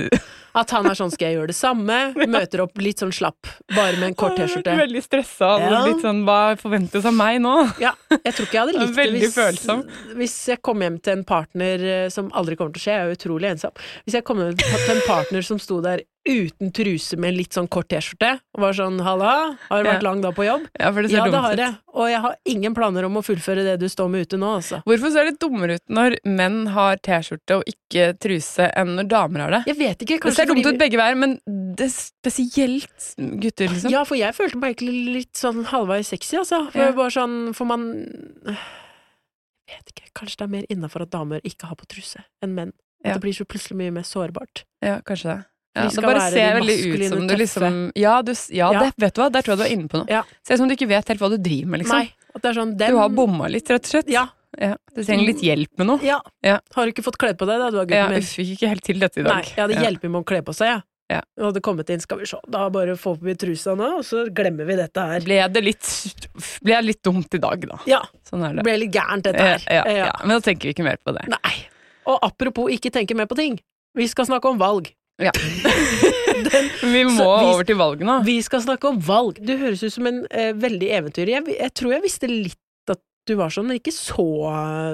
[SPEAKER 2] Ja. At han er sånn 'skal jeg gjøre det samme', møter opp litt sånn slapp, bare med en kort
[SPEAKER 3] Han
[SPEAKER 2] T-skjorte.
[SPEAKER 3] var Veldig stressa og
[SPEAKER 2] Ja.
[SPEAKER 3] litt sånn hva forventes av meg nå?
[SPEAKER 2] Ja, jeg tror ikke jeg hadde likt det
[SPEAKER 3] Veldig
[SPEAKER 2] hvis,
[SPEAKER 3] følsom.
[SPEAKER 2] hvis jeg kom hjem til en partner eh, som aldri kommer til å skje, jeg er jo utrolig ensom. Hvis jeg kom hjem til en partner som sto der uten truse med en litt sånn kort T-skjorte, og var sånn 'halla, har du vært
[SPEAKER 3] Ja.
[SPEAKER 2] lang dag på jobb?'
[SPEAKER 3] Ja, for det ser
[SPEAKER 2] Ja, det
[SPEAKER 3] dumt
[SPEAKER 2] har
[SPEAKER 3] ut.
[SPEAKER 2] jeg, og jeg har ingen planer om å fullføre det du står med ute nå, altså.
[SPEAKER 3] Hvorfor ser det dummere ut når menn har T-skjorte og ikke truse, enn når damer har det?
[SPEAKER 2] Jeg vet ikke,
[SPEAKER 3] Det
[SPEAKER 2] kanskje
[SPEAKER 3] ser dumt
[SPEAKER 2] fordi
[SPEAKER 3] ut
[SPEAKER 2] vi-
[SPEAKER 3] begge veier, men det er spesielt gutter, liksom.
[SPEAKER 2] Ja, for jeg følte meg egentlig litt sånn halvveis sexy, altså. For,
[SPEAKER 3] Ja.
[SPEAKER 2] bare sånn, for man Jeg vet ikke, kanskje det er mer innafor at damer ikke har på truse enn menn. At
[SPEAKER 3] Ja.
[SPEAKER 2] det blir så plutselig mye mer sårbart.
[SPEAKER 3] Ja, kanskje det.
[SPEAKER 2] Vi
[SPEAKER 3] Ja, det
[SPEAKER 2] skal
[SPEAKER 3] bare
[SPEAKER 2] være de
[SPEAKER 3] ser veldig ut
[SPEAKER 2] maskuline,
[SPEAKER 3] som du
[SPEAKER 2] tøffe.
[SPEAKER 3] liksom Ja, du, s- ja,
[SPEAKER 2] Ja.
[SPEAKER 3] Det, vet du hva, der tror jeg du er inne på noe.
[SPEAKER 2] Ja.
[SPEAKER 3] Ser ut som du ikke vet helt hva du driver med, liksom.
[SPEAKER 2] Nei, at det er sånn
[SPEAKER 3] Du
[SPEAKER 2] dem
[SPEAKER 3] har bomma litt, rett og slett.
[SPEAKER 2] Ja.
[SPEAKER 3] Ja, Du trenger litt hjelp med noe.
[SPEAKER 2] ja.
[SPEAKER 3] Ja.
[SPEAKER 2] Har du ikke fått kledd på deg, da, du er
[SPEAKER 3] Ja,
[SPEAKER 2] gutten min?
[SPEAKER 3] uff, fikk ikke helt til dette i
[SPEAKER 2] Nei,
[SPEAKER 3] dag.
[SPEAKER 2] jeg hadde hjulpet med å kle på seg, jeg.
[SPEAKER 3] Ja.
[SPEAKER 2] Og hadde kommet inn, skal vi se, da bare få på meg trusa nå, og så glemmer vi dette her.
[SPEAKER 3] Ble det litt Ble jeg litt dumt i dag, da?
[SPEAKER 2] Ja,
[SPEAKER 3] Sånn er
[SPEAKER 2] det
[SPEAKER 3] det.
[SPEAKER 2] ble litt gærent dette her.
[SPEAKER 3] Ja,
[SPEAKER 2] Eh,
[SPEAKER 3] ja, ja. Men da tenker vi ikke mer på det.
[SPEAKER 2] Nei. Og apropos ikke tenke mer på ting, vi skal snakke om valg.
[SPEAKER 3] Ja.
[SPEAKER 2] Den
[SPEAKER 3] Vi må
[SPEAKER 2] Så vi-
[SPEAKER 3] over til valget nå.
[SPEAKER 2] Vi skal snakke om valg. Du høres ut som en eh, veldig eventyrer. Jeg, jeg tror jeg visste litt at du var sånn, men ikke så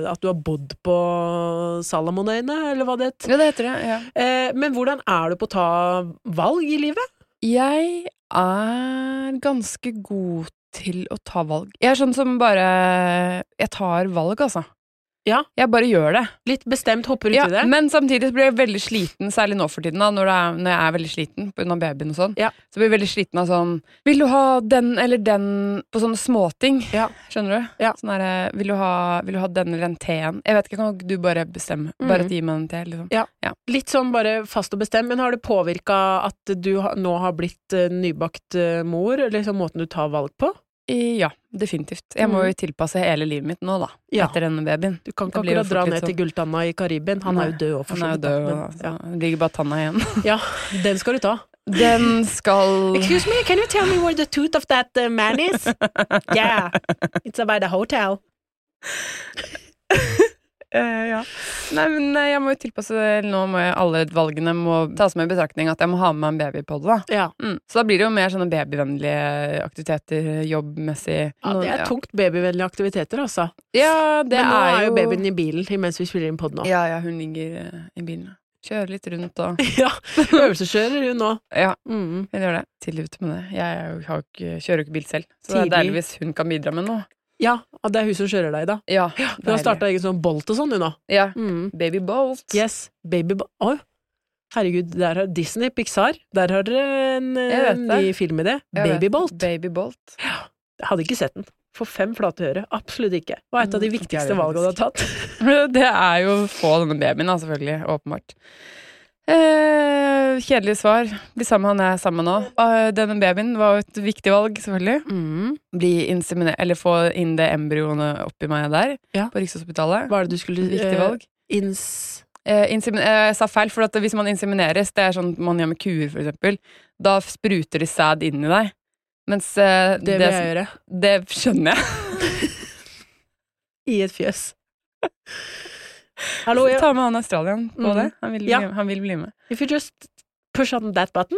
[SPEAKER 2] eh, at du har bodd på Salomonøyene, eller hva det het.
[SPEAKER 3] Ja, det heter det. Ja.
[SPEAKER 2] Eh, men hvordan er du på å ta valg i livet?
[SPEAKER 3] Jeg er ganske god til å ta valg. Jeg er sånn som bare Jeg tar valg, altså.
[SPEAKER 2] Ja.
[SPEAKER 3] Jeg bare gjør det.
[SPEAKER 2] Litt bestemt hopper uti
[SPEAKER 3] Ja,
[SPEAKER 2] det?
[SPEAKER 3] men samtidig så blir jeg veldig sliten, særlig nå for tiden, da, når, det er, når jeg er veldig sliten pga. babyen og sånn.
[SPEAKER 2] Ja.
[SPEAKER 3] Så blir jeg veldig sliten av sånn Vil du ha den eller den på sånne småting?
[SPEAKER 2] Ja.
[SPEAKER 3] Skjønner du?
[SPEAKER 2] Ja.
[SPEAKER 3] Sånn der, vil, du ha, vil du ha den eller den teen? Jeg vet ikke, kan du bare bestemme? Bare
[SPEAKER 2] Mm.
[SPEAKER 3] gi meg den teen, liksom.
[SPEAKER 2] Ja. Litt sånn bare fast og bestemt, men har det påvirka at du ha, nå har blitt eh, nybakt eh, mor, eller liksom måten du tar valg på?
[SPEAKER 3] Ja, definitivt. Jeg må jo tilpasse hele livet mitt nå, da.
[SPEAKER 2] Mm. Ja.
[SPEAKER 3] Etter denne babyen.
[SPEAKER 2] Du kan ikke
[SPEAKER 3] Det blir jo
[SPEAKER 2] akkurat dra
[SPEAKER 3] fort litt sånn-
[SPEAKER 2] ned til Gulltanna i Karibien, han er jo
[SPEAKER 3] Nei,
[SPEAKER 2] død òg, for
[SPEAKER 3] Han
[SPEAKER 2] så
[SPEAKER 3] er jo
[SPEAKER 2] vidt. da,
[SPEAKER 3] død,
[SPEAKER 2] men-
[SPEAKER 3] altså. Det Ligger bare tanna igjen.
[SPEAKER 2] Ja. ja, den skal du ta.
[SPEAKER 3] Den skal
[SPEAKER 2] Excuse me, can you tell me where the tooth of that uh, man is? Yeah, it's by the hotel.
[SPEAKER 3] ja. Nei, men eh, jeg må jo tilpasse det. Nå må jeg, alle valgene må tas med i betraktning at jeg må ha med meg en baby på det, da.
[SPEAKER 2] Ja.
[SPEAKER 3] Mm. Så da blir det jo mer sånne babyvennlige aktiviteter jobbmessig.
[SPEAKER 2] Ja, det er
[SPEAKER 3] Nå-
[SPEAKER 2] tungt babyvennlige aktiviteter, altså.
[SPEAKER 3] Ja, det
[SPEAKER 2] Men nå
[SPEAKER 3] er jo
[SPEAKER 2] babyen i bilen imens vi spiller inn pod nå.
[SPEAKER 3] Ja, ja, hun ligger eh, i bilen. Kjører litt rundt og
[SPEAKER 2] Ja, øvelseskjører hun nå.
[SPEAKER 3] Ja,
[SPEAKER 2] Mm.
[SPEAKER 3] hun gjør det. Tidlig ute med det. Jeg er jo- har jo ikke, kjører jo ikke bil selv, så det er
[SPEAKER 2] Tidlig.
[SPEAKER 3] deilig hvis hun kan bidra med noe.
[SPEAKER 2] Ja, og det er hun som kjører deg, da.
[SPEAKER 3] Ja,
[SPEAKER 2] Hun har
[SPEAKER 3] deilig.
[SPEAKER 2] starta egen sånn bolt og sånn, hun nå.
[SPEAKER 3] Ja.
[SPEAKER 2] Mm.
[SPEAKER 3] Baby Bolt.
[SPEAKER 2] Yes, baby bo- Oi. Herregud, der har Disney, Pixar, der har dere en eh,
[SPEAKER 3] Jeg vet det.
[SPEAKER 2] ny film i det.
[SPEAKER 3] Jeg vet.
[SPEAKER 2] Baby Bolt.
[SPEAKER 3] Baby Bolt.
[SPEAKER 2] Jeg hadde ikke sett den. For fem flate øre. Absolutt ikke. Det var et av de
[SPEAKER 3] Mm, det er
[SPEAKER 2] viktigste
[SPEAKER 3] det
[SPEAKER 2] valgene du har tatt.
[SPEAKER 3] Det er jo å få denne babyen, da, selvfølgelig. Åpenbart. Eh, kjedelig svar. Bli sammen med han jeg er sammen med nå. Eh, denne babyen var jo et viktig valg, selvfølgelig.
[SPEAKER 2] Mm.
[SPEAKER 3] Bli insemine- eller få inn det embryoene oppi meg der,
[SPEAKER 2] Ja.
[SPEAKER 3] på Rikshospitalet.
[SPEAKER 2] Hva er det du skulle
[SPEAKER 3] Viktig
[SPEAKER 2] eh,
[SPEAKER 3] valg.
[SPEAKER 2] Ins...
[SPEAKER 3] Eh, insemin- eh, jeg sa feil, for at hvis man insemineres, det er sånn man gjør med kuer, for eksempel, da spruter de sæd inn i deg. Mens eh,
[SPEAKER 2] Det vil jeg gjøre.
[SPEAKER 3] som- det skjønner jeg.
[SPEAKER 2] I et fjøs. Hallo, yeah.
[SPEAKER 3] Ta med han australieren på
[SPEAKER 2] Mhm.
[SPEAKER 3] det. Han vil, bli,
[SPEAKER 2] Ja.
[SPEAKER 3] han vil bli med.
[SPEAKER 2] If you just push on that button.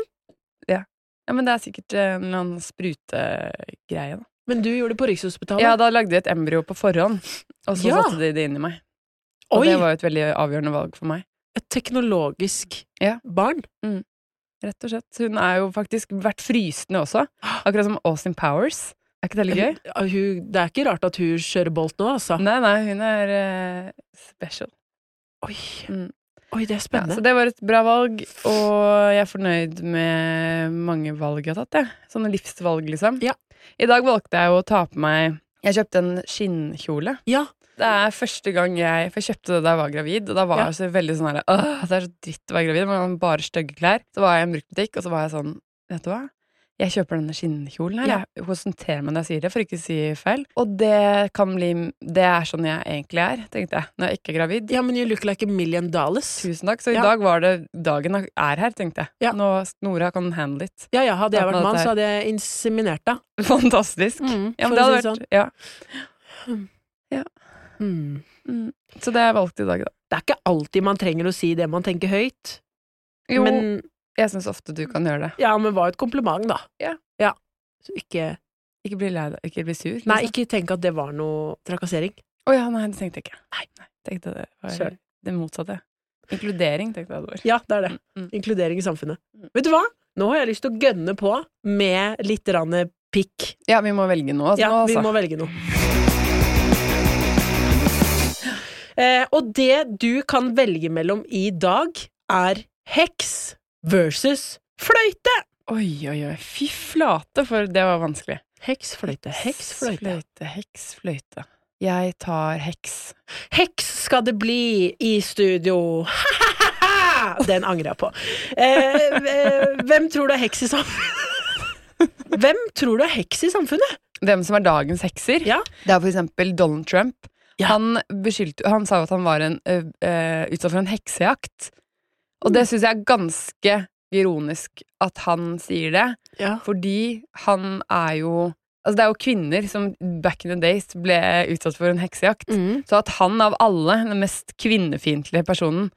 [SPEAKER 3] Ja, Men det er sikkert eh, en eller annen sprutegreie, da.
[SPEAKER 2] Men du gjorde det på Rikshospitalet.
[SPEAKER 3] Ja, da lagde de et embryo på forhånd, og så
[SPEAKER 2] Ja.
[SPEAKER 3] satte de det inn i meg. Og
[SPEAKER 2] Oi!
[SPEAKER 3] det var jo et veldig avgjørende valg for meg.
[SPEAKER 2] Et teknologisk
[SPEAKER 3] Ja.
[SPEAKER 2] barn.
[SPEAKER 3] Rett og slett. Hun er jo faktisk vært frysende også. Akkurat som Austin Powers. Er ikke det litt gøy?
[SPEAKER 2] Ja, Hun, det er ikke rart at hun kjører Bolt nå, altså.
[SPEAKER 3] Nei, nei, hun er eh, special.
[SPEAKER 2] Oi.
[SPEAKER 3] Mm.
[SPEAKER 2] Oi, det er
[SPEAKER 3] Ja, så
[SPEAKER 2] spennende.
[SPEAKER 3] det var et bra valg, og jeg er fornøyd med mange valg jeg har tatt. Jeg. Sånne livsvalg, liksom.
[SPEAKER 2] Ja.
[SPEAKER 3] I dag valgte jeg å ta på meg Jeg kjøpte en skinnkjole.
[SPEAKER 2] Ja,
[SPEAKER 3] Det er første gang jeg For jeg kjøpte det da jeg var gravid, og da var
[SPEAKER 2] Ja.
[SPEAKER 3] jeg så veldig sånn her Åh, det er så dritt å være gravid, man har bare stygge klær. Så var jeg i en bruktbutikk, og så var jeg sånn Vet du hva? Jeg kjøper denne skinnkjolen her.
[SPEAKER 2] Ja.
[SPEAKER 3] Jeg konsentrerer meg når jeg sier det, for ikke å si feil. Og det kan bli Det er sånn jeg egentlig er, tenkte jeg, når jeg ikke er gravid.
[SPEAKER 2] ja men you look like a million dollars.
[SPEAKER 3] Tusen takk. Så i
[SPEAKER 2] Ja.
[SPEAKER 3] dag var det dagen jeg er her, tenkte jeg.
[SPEAKER 2] Ja.
[SPEAKER 3] Nå Nora kan handle it.
[SPEAKER 2] Ja, ja, hadde jeg
[SPEAKER 3] Ta på
[SPEAKER 2] vært mann,
[SPEAKER 3] dette her.
[SPEAKER 2] så hadde jeg inseminert deg.
[SPEAKER 3] Fantastisk. Mm, Ja,
[SPEAKER 2] Mm, for
[SPEAKER 3] men det
[SPEAKER 2] å
[SPEAKER 3] hadde
[SPEAKER 2] si det
[SPEAKER 3] vært ja.
[SPEAKER 2] sånn. Mm.
[SPEAKER 3] Mm. Så det har jeg valgt i dag, da.
[SPEAKER 2] Det er ikke alltid man trenger å si det man tenker høyt,
[SPEAKER 3] Jo,
[SPEAKER 2] men
[SPEAKER 3] jeg syns ofte du kan gjøre det.
[SPEAKER 2] ja, men var jo et kompliment, da.
[SPEAKER 3] Ja.
[SPEAKER 2] Så ikke
[SPEAKER 3] Ikke bli lei deg, ikke bli sur.
[SPEAKER 2] Nei, ikke tenk at det var noe trakassering.
[SPEAKER 3] Å ja, nei, det tenkte jeg ikke. Nei, nei. Tenkte det var
[SPEAKER 2] Søren.
[SPEAKER 3] det motsatte. Inkludering, tenkte jeg det var.
[SPEAKER 2] Ja, det er det.
[SPEAKER 3] Mm, mm.
[SPEAKER 2] Inkludering i samfunnet.
[SPEAKER 3] Mm.
[SPEAKER 2] Vet du hva? Nå har jeg lyst til å gønne på med litt rann pikk.
[SPEAKER 3] Ja, vi må velge nå, altså.
[SPEAKER 2] Ja,
[SPEAKER 3] Nå,
[SPEAKER 2] vi
[SPEAKER 3] altså.
[SPEAKER 2] må velge noe. Eh, og det du kan velge mellom i dag, er heks versus fløyte.
[SPEAKER 3] Oi, oi, oi. Fy flate, for det var vanskelig.
[SPEAKER 2] Heks, fløyte, heks, fløyte.
[SPEAKER 3] fløyte, heks, fløyte. Jeg tar heks.
[SPEAKER 2] Heks skal det bli i studio. Den angrer jeg på. Eh, eh, hvem tror du er heks i samfunnet? Hvem tror du er heks i samfunnet?
[SPEAKER 3] Hvem som er dagens hekser?
[SPEAKER 2] Ja.
[SPEAKER 3] Det er for eksempel Donald Trump.
[SPEAKER 2] Ja.
[SPEAKER 3] Han, beskyldte, han sa jo at han var en, ø, ø, utsatt for en heksejakt. Og det syns jeg er ganske ironisk at han sier det,
[SPEAKER 2] Ja.
[SPEAKER 3] fordi han er jo Altså Det er jo kvinner som back in the days ble utsatt for en heksejakt.
[SPEAKER 2] Mm.
[SPEAKER 3] Så at han av alle, den mest kvinnefiendtlige personen,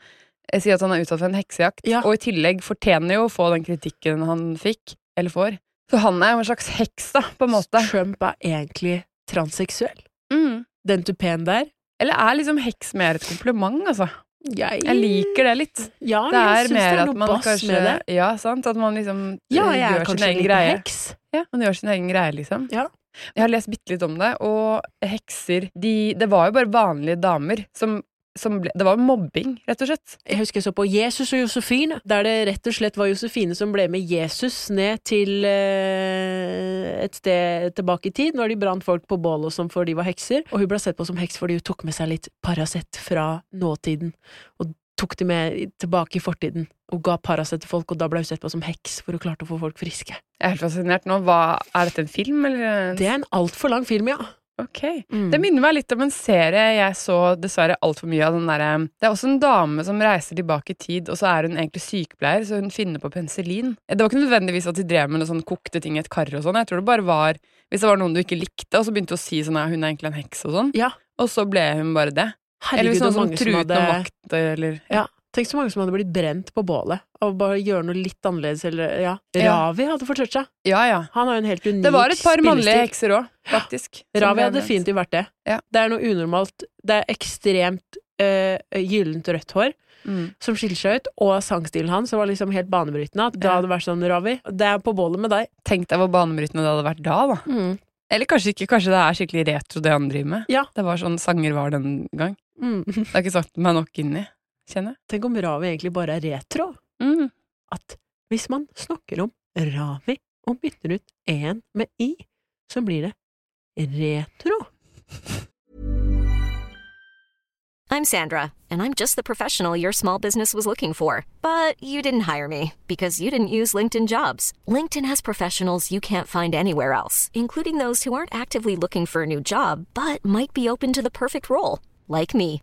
[SPEAKER 3] eh, sier at han er utsatt for en heksejakt,
[SPEAKER 2] Ja.
[SPEAKER 3] og i tillegg fortjener jo å få den kritikken han fikk, eller får. Så han er jo en slags heks, da, på en måte.
[SPEAKER 2] Trump er egentlig transseksuell.
[SPEAKER 3] Mm.
[SPEAKER 2] Den tupeen der
[SPEAKER 3] Eller er liksom heks mer et kompliment, altså?
[SPEAKER 2] Jeg,
[SPEAKER 3] Jeg liker det litt.
[SPEAKER 2] Ja,
[SPEAKER 3] Det
[SPEAKER 2] jeg
[SPEAKER 3] er
[SPEAKER 2] syns det
[SPEAKER 3] mer
[SPEAKER 2] er
[SPEAKER 3] at
[SPEAKER 2] noe
[SPEAKER 3] man
[SPEAKER 2] bass
[SPEAKER 3] kanskje
[SPEAKER 2] med det.
[SPEAKER 3] Ja, sant? At man liksom
[SPEAKER 2] Ja,
[SPEAKER 3] eh,
[SPEAKER 2] jeg er
[SPEAKER 3] gjør sin
[SPEAKER 2] kanskje en
[SPEAKER 3] egen
[SPEAKER 2] liten
[SPEAKER 3] greie.
[SPEAKER 2] heks.
[SPEAKER 3] Ja, man gjør sin egen greie, liksom.
[SPEAKER 2] Ja.
[SPEAKER 3] Jeg har lest bitte litt om det, og hekser de, Det var jo bare vanlige damer som, som ble Det var jo mobbing, rett og slett.
[SPEAKER 2] Jeg husker jeg så på Jesus og Josefine, der det rett og slett var Josefine som ble med Jesus ned til eh, et sted tilbake i tid, når de brant folk på bål og sånn for de var hekser. Og hun ble sett på som heks fordi hun tok med seg litt Paracet fra nåtiden, og tok det med i- tilbake i fortiden, og ga Paracet til folk, og da ble hun sett på som heks, for hun klarte å få folk friske.
[SPEAKER 3] Jeg er helt fascinert nå. Hva, er dette en film, eller?
[SPEAKER 2] Det er Mm. en altfor lang film, ja.
[SPEAKER 3] Ok. Det minner meg litt om en serie jeg så dessverre altfor mye av. den derre- Det er også en dame som reiser tilbake i tid, og så er hun egentlig sykepleier, så hun finner på penicillin. Det var ikke nødvendigvis at de drev med noe sånn kokte ting i et kar og sånn. Jeg tror det bare var hvis det var noen du ikke likte, og så begynte du å si sånn at hun er egentlig en heks og sånn,
[SPEAKER 2] Ja.
[SPEAKER 3] og så ble hun bare det. Eller
[SPEAKER 2] Herregud,
[SPEAKER 3] hvis
[SPEAKER 2] hvor
[SPEAKER 3] noen som
[SPEAKER 2] mange
[SPEAKER 3] truet
[SPEAKER 2] hadde-
[SPEAKER 3] noe makt, eller
[SPEAKER 2] Ja. Tenk så mange som hadde blitt brent på bålet av bare å gjøre noe litt annerledes. Eller, ja.
[SPEAKER 3] Ja.
[SPEAKER 2] Ravi hadde fortsatt seg.
[SPEAKER 3] Ja ja.
[SPEAKER 2] Han har jo en helt unik
[SPEAKER 3] Det var et par mannlige
[SPEAKER 2] spillestil.
[SPEAKER 3] hekser òg, faktisk. som
[SPEAKER 2] Ravi
[SPEAKER 3] ble
[SPEAKER 2] hadde
[SPEAKER 3] brent.
[SPEAKER 2] definitivt vært det.
[SPEAKER 3] Ja.
[SPEAKER 2] Det er noe unormalt. Det er ekstremt eh, gyllent rødt hår
[SPEAKER 3] Mm.
[SPEAKER 2] som skiller seg ut, og sangstilen hans som var liksom helt banebrytende. At
[SPEAKER 3] Ja.
[SPEAKER 2] da hadde det vært sånn, Ravi, det er på bålet med deg.
[SPEAKER 3] Tenk deg hvor banebrytende det hadde vært da, da. Eller kanskje ikke, kanskje det er skikkelig retro det han driver med.
[SPEAKER 2] Ja.
[SPEAKER 3] Det var sånn sanger var den gang.
[SPEAKER 2] Mm.
[SPEAKER 3] Det har ikke satt meg nok inn i, kjenner jeg.
[SPEAKER 2] Tenk om Ravi egentlig bare er retro.
[SPEAKER 3] Mm.
[SPEAKER 2] At hvis man snakker om Ravi og bytter ut en med i, så blir det retro.
[SPEAKER 5] I'm Sandra, and I'm just the professional your small business was looking for. But you didn't hire me because you didn't use LinkedIn jobs. LinkedIn has professionals you can't find anywhere else, including those who aren't actively looking for a new job but might be open to the perfect role, like me.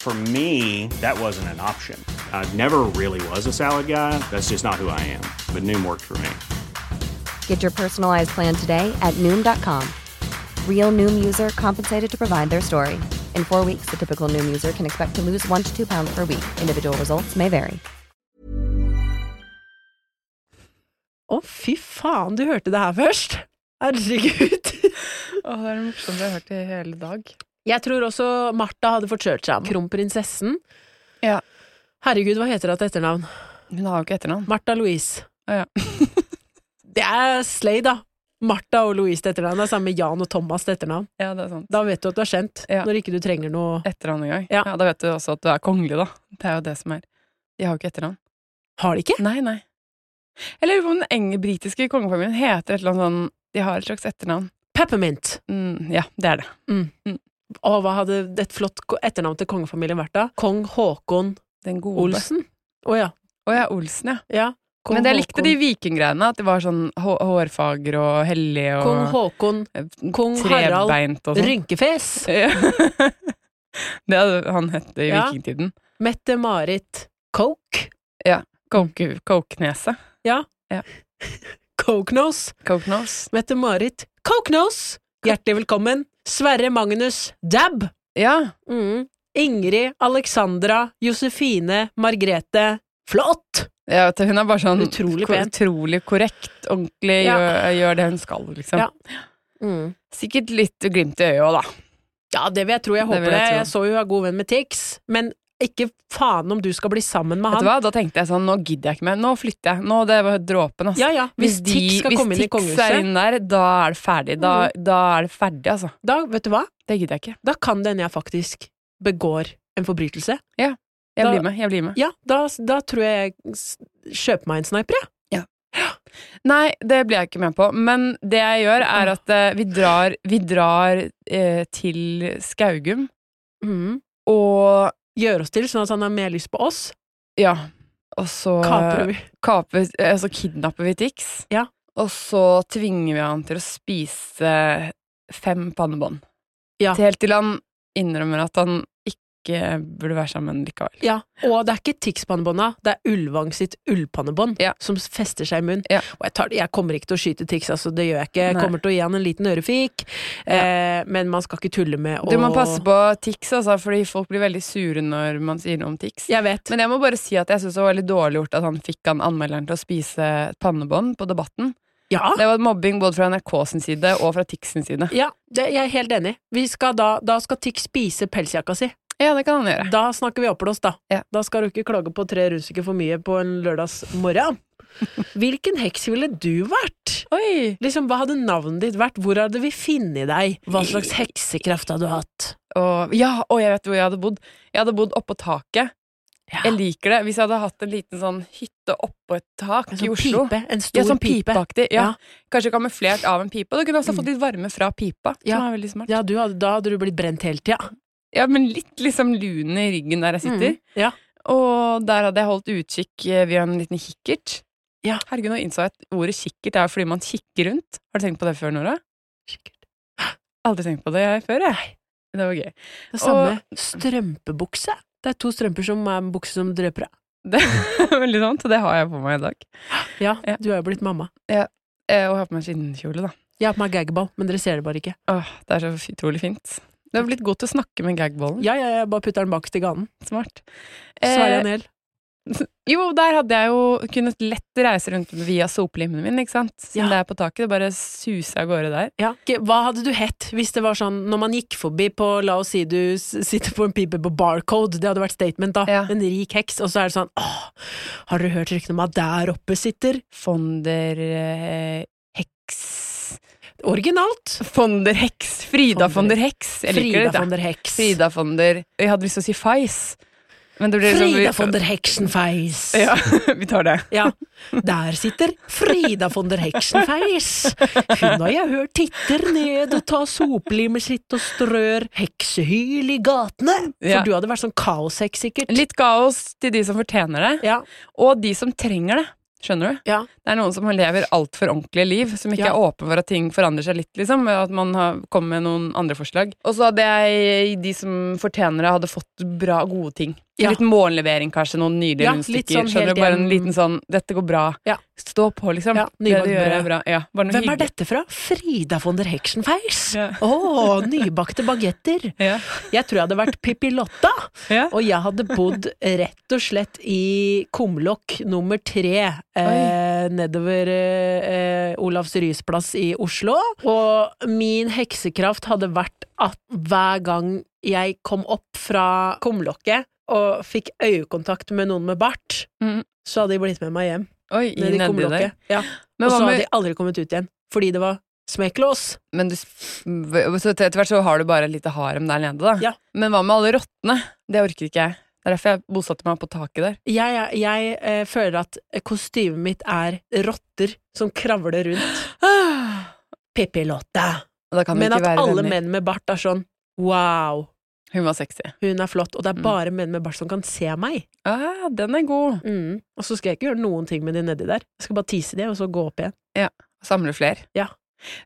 [SPEAKER 6] For me, that wasn't an option. I never really was a salad guy. That's just not who I am. But Noom worked for me.
[SPEAKER 7] Get your personalized plan today at Noom.com. Real Noom user compensated to provide their story. In four weeks, the typical Noom user can expect to lose one to two pounds per week. Individual results may vary.
[SPEAKER 2] Å, fy faen, du hørte det her først! Herregud.
[SPEAKER 3] Å, det er det morsomste jeg har hørt i hele dag.
[SPEAKER 2] Jeg tror også Martha hadde fått kjørt seg. Kronprinsessen.
[SPEAKER 3] Ja.
[SPEAKER 2] Herregud, hva heter hun til etternavn?
[SPEAKER 3] Hun har jo ikke etternavn.
[SPEAKER 2] Martha Louise.
[SPEAKER 3] Ja.
[SPEAKER 2] Det er slay, da. Martha og Louise til etternavn er sammen med Jan og Thomas til etternavn.
[SPEAKER 3] ja, det er sant.
[SPEAKER 2] Da vet du at du er kjent,
[SPEAKER 3] Ja.
[SPEAKER 2] når ikke du trenger noe
[SPEAKER 3] Etternavn engang.
[SPEAKER 2] Ja.
[SPEAKER 3] Ja. ja, da vet du også at du er kongelig, da. Det er jo det som er. De har jo ikke etternavn.
[SPEAKER 2] Har de ikke?
[SPEAKER 3] Nei, nei. Jeg lurer på om den enge britiske kongefamilien heter et eller annet sånn De har et slags etternavn.
[SPEAKER 2] Peppermint.
[SPEAKER 3] Mm, ja, det er det.
[SPEAKER 2] Og hva hadde et flott ko- etternavn til kongefamilien vært da? Kong Håkon
[SPEAKER 3] Den gode.
[SPEAKER 2] Olsen? Å ja.
[SPEAKER 3] Å ja, Olsen, ja.
[SPEAKER 2] ja. Kong
[SPEAKER 3] Men jeg likte
[SPEAKER 2] Håkon-
[SPEAKER 3] de vikinggreiene. At det var sånn hå hårfager og hellig og
[SPEAKER 2] Kong Håkon
[SPEAKER 3] eh,
[SPEAKER 2] Kong Harald
[SPEAKER 3] trebeint og sånn.
[SPEAKER 2] Rynkefjes.
[SPEAKER 3] Ja. det hadde han hett i
[SPEAKER 2] Ja.
[SPEAKER 3] vikingtiden.
[SPEAKER 2] Mette-Marit Coke.
[SPEAKER 3] Coke- Cokenese.
[SPEAKER 2] Cokenose.
[SPEAKER 3] Cokenose.
[SPEAKER 2] Mette-Marit Cokenose. Hjertelig velkommen. Sverre Magnus Dab.
[SPEAKER 3] Ja.
[SPEAKER 2] Mm. Ingrid Alexandra Josefine Margrete Flott!
[SPEAKER 3] Ja, vet du, hun er bare sånn
[SPEAKER 2] Utrolig
[SPEAKER 3] ko-
[SPEAKER 2] pen.
[SPEAKER 3] utrolig korrekt, ordentlig,
[SPEAKER 2] Ja.
[SPEAKER 3] gjør, gjør det hun skal, liksom.
[SPEAKER 2] Ja.
[SPEAKER 3] Sikkert litt glimt i øyet òg, da.
[SPEAKER 2] Ja, det vil jeg tro. Jeg
[SPEAKER 3] Det vil
[SPEAKER 2] håper det.
[SPEAKER 3] jeg tro.
[SPEAKER 2] Jeg så jo hun er god venn med Tix, men ikke faen om du skal bli sammen med
[SPEAKER 3] Vet du
[SPEAKER 2] han.
[SPEAKER 3] hva? Da tenkte jeg sånn, nå gidder jeg ikke mer. Nå flytter jeg. Nå, det var dråpen, ass.
[SPEAKER 2] Ja, ja. Hvis,
[SPEAKER 3] de-
[SPEAKER 2] Tix skal
[SPEAKER 3] hvis
[SPEAKER 2] komme inn i
[SPEAKER 3] Tix er
[SPEAKER 2] kongehuset, Mm.
[SPEAKER 3] inn der, da er det ferdig. Da, da er det ferdig, altså.
[SPEAKER 2] da, vet du hva?
[SPEAKER 3] Det gidder jeg ikke.
[SPEAKER 2] da kan det hende jeg faktisk begår en forbrytelse.
[SPEAKER 3] Jeg
[SPEAKER 2] Da-
[SPEAKER 3] blir med. jeg blir med.
[SPEAKER 2] Ja, da, da tror jeg jeg s- kjøper meg en sniper, jeg.
[SPEAKER 3] Nei, det blir jeg ikke med på. Men det jeg gjør, er at eh, vi drar, vi drar eh, til Skaugum, Mm. og
[SPEAKER 2] Gjør oss til sånn at han har mer lyst på oss.
[SPEAKER 3] ja. Og så
[SPEAKER 2] Kaprer vi.
[SPEAKER 3] kaper, eh, så kidnapper vi Tix,
[SPEAKER 2] Ja.
[SPEAKER 3] og så tvinger vi han til å spise fem pannebånd.
[SPEAKER 2] Ja.
[SPEAKER 3] Helt til han innrømmer at han ikke burde være sammen likevel.
[SPEAKER 2] Ja, og det er ikke Tix-pannebånda, det er Ulvang sitt ullpannebånd
[SPEAKER 3] Ja.
[SPEAKER 2] som sfester seg i munnen.
[SPEAKER 3] Ja.
[SPEAKER 2] Og jeg, tar, det- jeg kommer ikke til å skyte Tix, altså, det gjør jeg ikke. Jeg
[SPEAKER 3] Nei.
[SPEAKER 2] kommer til å gi han en liten ørefik, eh, men man skal ikke tulle med å
[SPEAKER 3] Du må passe på Tix, altså, fordi folk blir veldig sure når man sier noe om Tix.
[SPEAKER 2] Jeg vet.
[SPEAKER 3] Men jeg må bare si at jeg syns det var veldig dårlig gjort at han fikk han anmelderen til å spise et pannebånd på Debatten.
[SPEAKER 2] ja.
[SPEAKER 3] Det var mobbing både fra NRK sin side og fra Tix sin side.
[SPEAKER 2] Ah. Ja, det, jeg er helt enig. Vi skal da, da skal Tix spise pelsjakka si.
[SPEAKER 3] Ja, det kan han gjøre.
[SPEAKER 2] Da snakker vi oppblåst, da.
[SPEAKER 3] Ja.
[SPEAKER 2] Da skal du ikke klage på tre russiker for mye på en lørdagsmorgen. Hvilken heks ville du vært?
[SPEAKER 3] Oi!
[SPEAKER 2] Liksom, Hva hadde navnet ditt vært? Hvor hadde vi funnet deg? Hva slags heksekraft hadde du hatt?
[SPEAKER 3] Og, ja, og jeg vet hvor jeg hadde bodd. Jeg hadde bodd oppå taket. Jeg liker det. Hvis jeg hadde hatt en liten sånn hytte oppå et tak
[SPEAKER 2] En
[SPEAKER 3] i
[SPEAKER 2] sånn
[SPEAKER 3] Oslo.
[SPEAKER 2] pipe. En stor
[SPEAKER 3] Ja, sånn
[SPEAKER 2] pipe.
[SPEAKER 3] pipeaktig. Ja.
[SPEAKER 2] Ja. Mm.
[SPEAKER 3] Kanskje kamuflert av en pipe. Og du kunne også fått litt varme fra pipa.
[SPEAKER 2] Ja.
[SPEAKER 3] Som er veldig smart. Ja.
[SPEAKER 2] Ja, du hadde, Da hadde du blitt brent hele tida.
[SPEAKER 3] men litt liksom lune i ryggen der jeg sitter.
[SPEAKER 2] Mm. Ja.
[SPEAKER 3] Og der hadde jeg holdt utkikk eh, via en liten kikkert.
[SPEAKER 2] Ja.
[SPEAKER 3] Herregud, nå innså jeg at ordet kikkert er fordi man kikker rundt. Har du tenkt på det før, Nora? Aldri tenkt på det jeg før, jeg. Det var gøy.
[SPEAKER 2] Det samme. Strømpebukse. Det er to strømper som er en bukse som dreper deg.
[SPEAKER 3] Det er veldig sant, og det har jeg på meg i dag.
[SPEAKER 2] Ja,
[SPEAKER 3] Ja.
[SPEAKER 2] du er jo blitt mamma.
[SPEAKER 3] Eh, Og jeg har på meg skinnkjole, da.
[SPEAKER 2] Jeg har på meg gagball, men dere ser det bare ikke.
[SPEAKER 3] Åh, det er så utrolig fint. Du har blitt god til å snakke med gagballen.
[SPEAKER 2] Ja, ja, jeg bare putter den bakst i ganen.
[SPEAKER 3] Smart.
[SPEAKER 2] Sverre
[SPEAKER 3] Eh,
[SPEAKER 2] Nel.
[SPEAKER 3] jo, der hadde jeg jo kunnet lett reise rundt via soplimen min, ikke sant. Siden
[SPEAKER 2] Ja.
[SPEAKER 3] det er på taket. Det bare suser av gårde der.
[SPEAKER 2] Ja. Ikke- Hva hadde du hett hvis det var sånn når man gikk forbi på La oss si du s- sitter på en pipe på Barcode, det hadde vært statement, da.
[SPEAKER 3] Ja.
[SPEAKER 2] En rik heks, og så er det sånn åh, har dere hørt ryktene om at der oppe sitter
[SPEAKER 3] Fonder eh, Heks
[SPEAKER 2] Originalt!
[SPEAKER 3] Fonder Heks! Frida
[SPEAKER 2] Fonder-
[SPEAKER 3] Fonder Heks. Jeg liker
[SPEAKER 2] Frida
[SPEAKER 3] det,
[SPEAKER 2] von der Heks.
[SPEAKER 3] Frida Fonder Jeg hadde lyst til å si Fais. Men det blir
[SPEAKER 2] Frida
[SPEAKER 3] liksom-
[SPEAKER 2] von der Hexenfeis.
[SPEAKER 3] Ja, vi tar det.
[SPEAKER 2] Ja, der sitter Frida von der Heksenfeis. Hun har jeg hørt titter ned og tar soplimet sitt og strør heksehyl i gatene. For
[SPEAKER 3] Ja.
[SPEAKER 2] du hadde vært sånn kaosheks, sikkert.
[SPEAKER 3] Litt kaos til de som fortjener det,
[SPEAKER 2] Ja,
[SPEAKER 3] og de som trenger det. Skjønner du?
[SPEAKER 2] ja,
[SPEAKER 3] Det er noen som lever altfor ordentlige liv, som ikke
[SPEAKER 2] Ja.
[SPEAKER 3] er åpen for at ting forandrer seg litt, liksom, ved at man har, kommer med noen andre forslag. Og så hadde jeg de som fortjener det, hadde fått bra, gode ting.
[SPEAKER 2] Ja.
[SPEAKER 3] Litt morgenlevering, kanskje, noen nydelige
[SPEAKER 2] Ja, litt
[SPEAKER 3] rundstykker.
[SPEAKER 2] sånn
[SPEAKER 3] skjønner
[SPEAKER 2] helt
[SPEAKER 3] du? Bare en
[SPEAKER 2] hjem-
[SPEAKER 3] liten sånn 'dette går bra',
[SPEAKER 2] Ja.
[SPEAKER 3] stå på, liksom.
[SPEAKER 2] Ja,
[SPEAKER 3] det du gjør,
[SPEAKER 2] nybakt brød.
[SPEAKER 3] er bra. Ja, bare noe
[SPEAKER 2] Hvem er
[SPEAKER 3] hyggelig.
[SPEAKER 2] dette fra? Frida von der Heksenfeis? Å,
[SPEAKER 3] Ja.
[SPEAKER 2] nybakte bagetter.
[SPEAKER 3] Ja.
[SPEAKER 2] Jeg tror jeg hadde vært Pippi Lotta,
[SPEAKER 3] Ja.
[SPEAKER 2] og jeg hadde bodd rett og slett i kumlokk nummer tre eh, nedover eh, Olavs Ryes plass i Oslo. Og min heksekraft hadde vært at hver gang jeg kom opp fra kumlokket og fikk øyekontakt med noen med bart,
[SPEAKER 3] Mm.
[SPEAKER 2] så hadde de blitt med meg hjem.
[SPEAKER 3] Oi,
[SPEAKER 2] Ned i
[SPEAKER 3] nedi der.
[SPEAKER 2] kumlokket. Ja.
[SPEAKER 3] Men,
[SPEAKER 2] Og så
[SPEAKER 3] hva
[SPEAKER 2] hadde
[SPEAKER 3] med,
[SPEAKER 2] de aldri kommet ut igjen, fordi det var smekklås.
[SPEAKER 3] men du, så etter hvert så har du bare et lite harem der nede, da.
[SPEAKER 2] Ja.
[SPEAKER 3] Men hva med alle rottene? Det orker ikke jeg. Det er derfor jeg bosatte meg på taket der.
[SPEAKER 2] Jeg, jeg, jeg eh, føler at kostymet mitt er rotter som kravler rundt. Pippilotta.
[SPEAKER 3] Og Da kan vi
[SPEAKER 2] Ah. Men
[SPEAKER 3] ikke
[SPEAKER 2] at
[SPEAKER 3] være
[SPEAKER 2] alle
[SPEAKER 3] venner.
[SPEAKER 2] menn med bart er sånn wow,
[SPEAKER 3] Hun var sexy.
[SPEAKER 2] hun er flott, og det er bare menn med bart som kan se meg.
[SPEAKER 3] Ah, den er god.
[SPEAKER 2] Mm. Og så skal jeg ikke gjøre noen ting med de nedi der. Jeg skal bare tise de, og så gå opp igjen.
[SPEAKER 3] Samle fler.
[SPEAKER 2] Ja.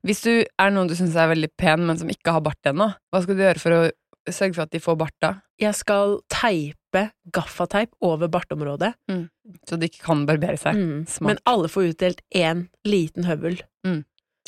[SPEAKER 3] Hvis du er noen du syns er veldig pen, men som ikke har bart ennå, hva skal du gjøre for å sørge for at de får bart da?
[SPEAKER 2] Jeg skal teipe gaffateip over bartområdet,
[SPEAKER 3] Så de ikke kan barbere seg?
[SPEAKER 2] mm.
[SPEAKER 3] smart.
[SPEAKER 2] men alle får utdelt én liten høvel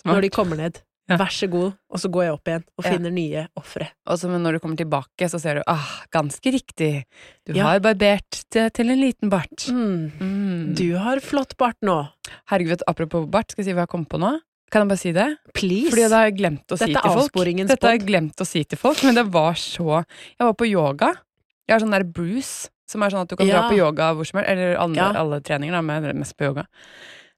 [SPEAKER 2] når de kommer ned.
[SPEAKER 3] Ja.
[SPEAKER 2] Vær så god, og så går jeg opp igjen og
[SPEAKER 3] Ja.
[SPEAKER 2] finner nye ofre.
[SPEAKER 3] Og så men når du kommer tilbake, så ser du ah, ganske riktig, du
[SPEAKER 2] Ja.
[SPEAKER 3] har barbert til, til en liten bart.
[SPEAKER 2] Mm.
[SPEAKER 3] Mm.
[SPEAKER 2] Du har flott bart nå.
[SPEAKER 3] Herregud, apropos bart, skal jeg si hva jeg kom på nå? Kan jeg bare si det?
[SPEAKER 2] Please.
[SPEAKER 3] Fordi det har jeg glemt å si
[SPEAKER 2] Dette er
[SPEAKER 3] til folk.
[SPEAKER 2] avsporingens
[SPEAKER 3] Dette har jeg
[SPEAKER 2] podd.
[SPEAKER 3] glemt å si til folk, men det var så Jeg var på yoga. Jeg har sånn der bruce, som er sånn at du kan
[SPEAKER 2] Ja.
[SPEAKER 3] dra på yoga hvor som helst, eller alle,
[SPEAKER 2] Ja.
[SPEAKER 3] alle treninger, da, men jeg er mest på yoga.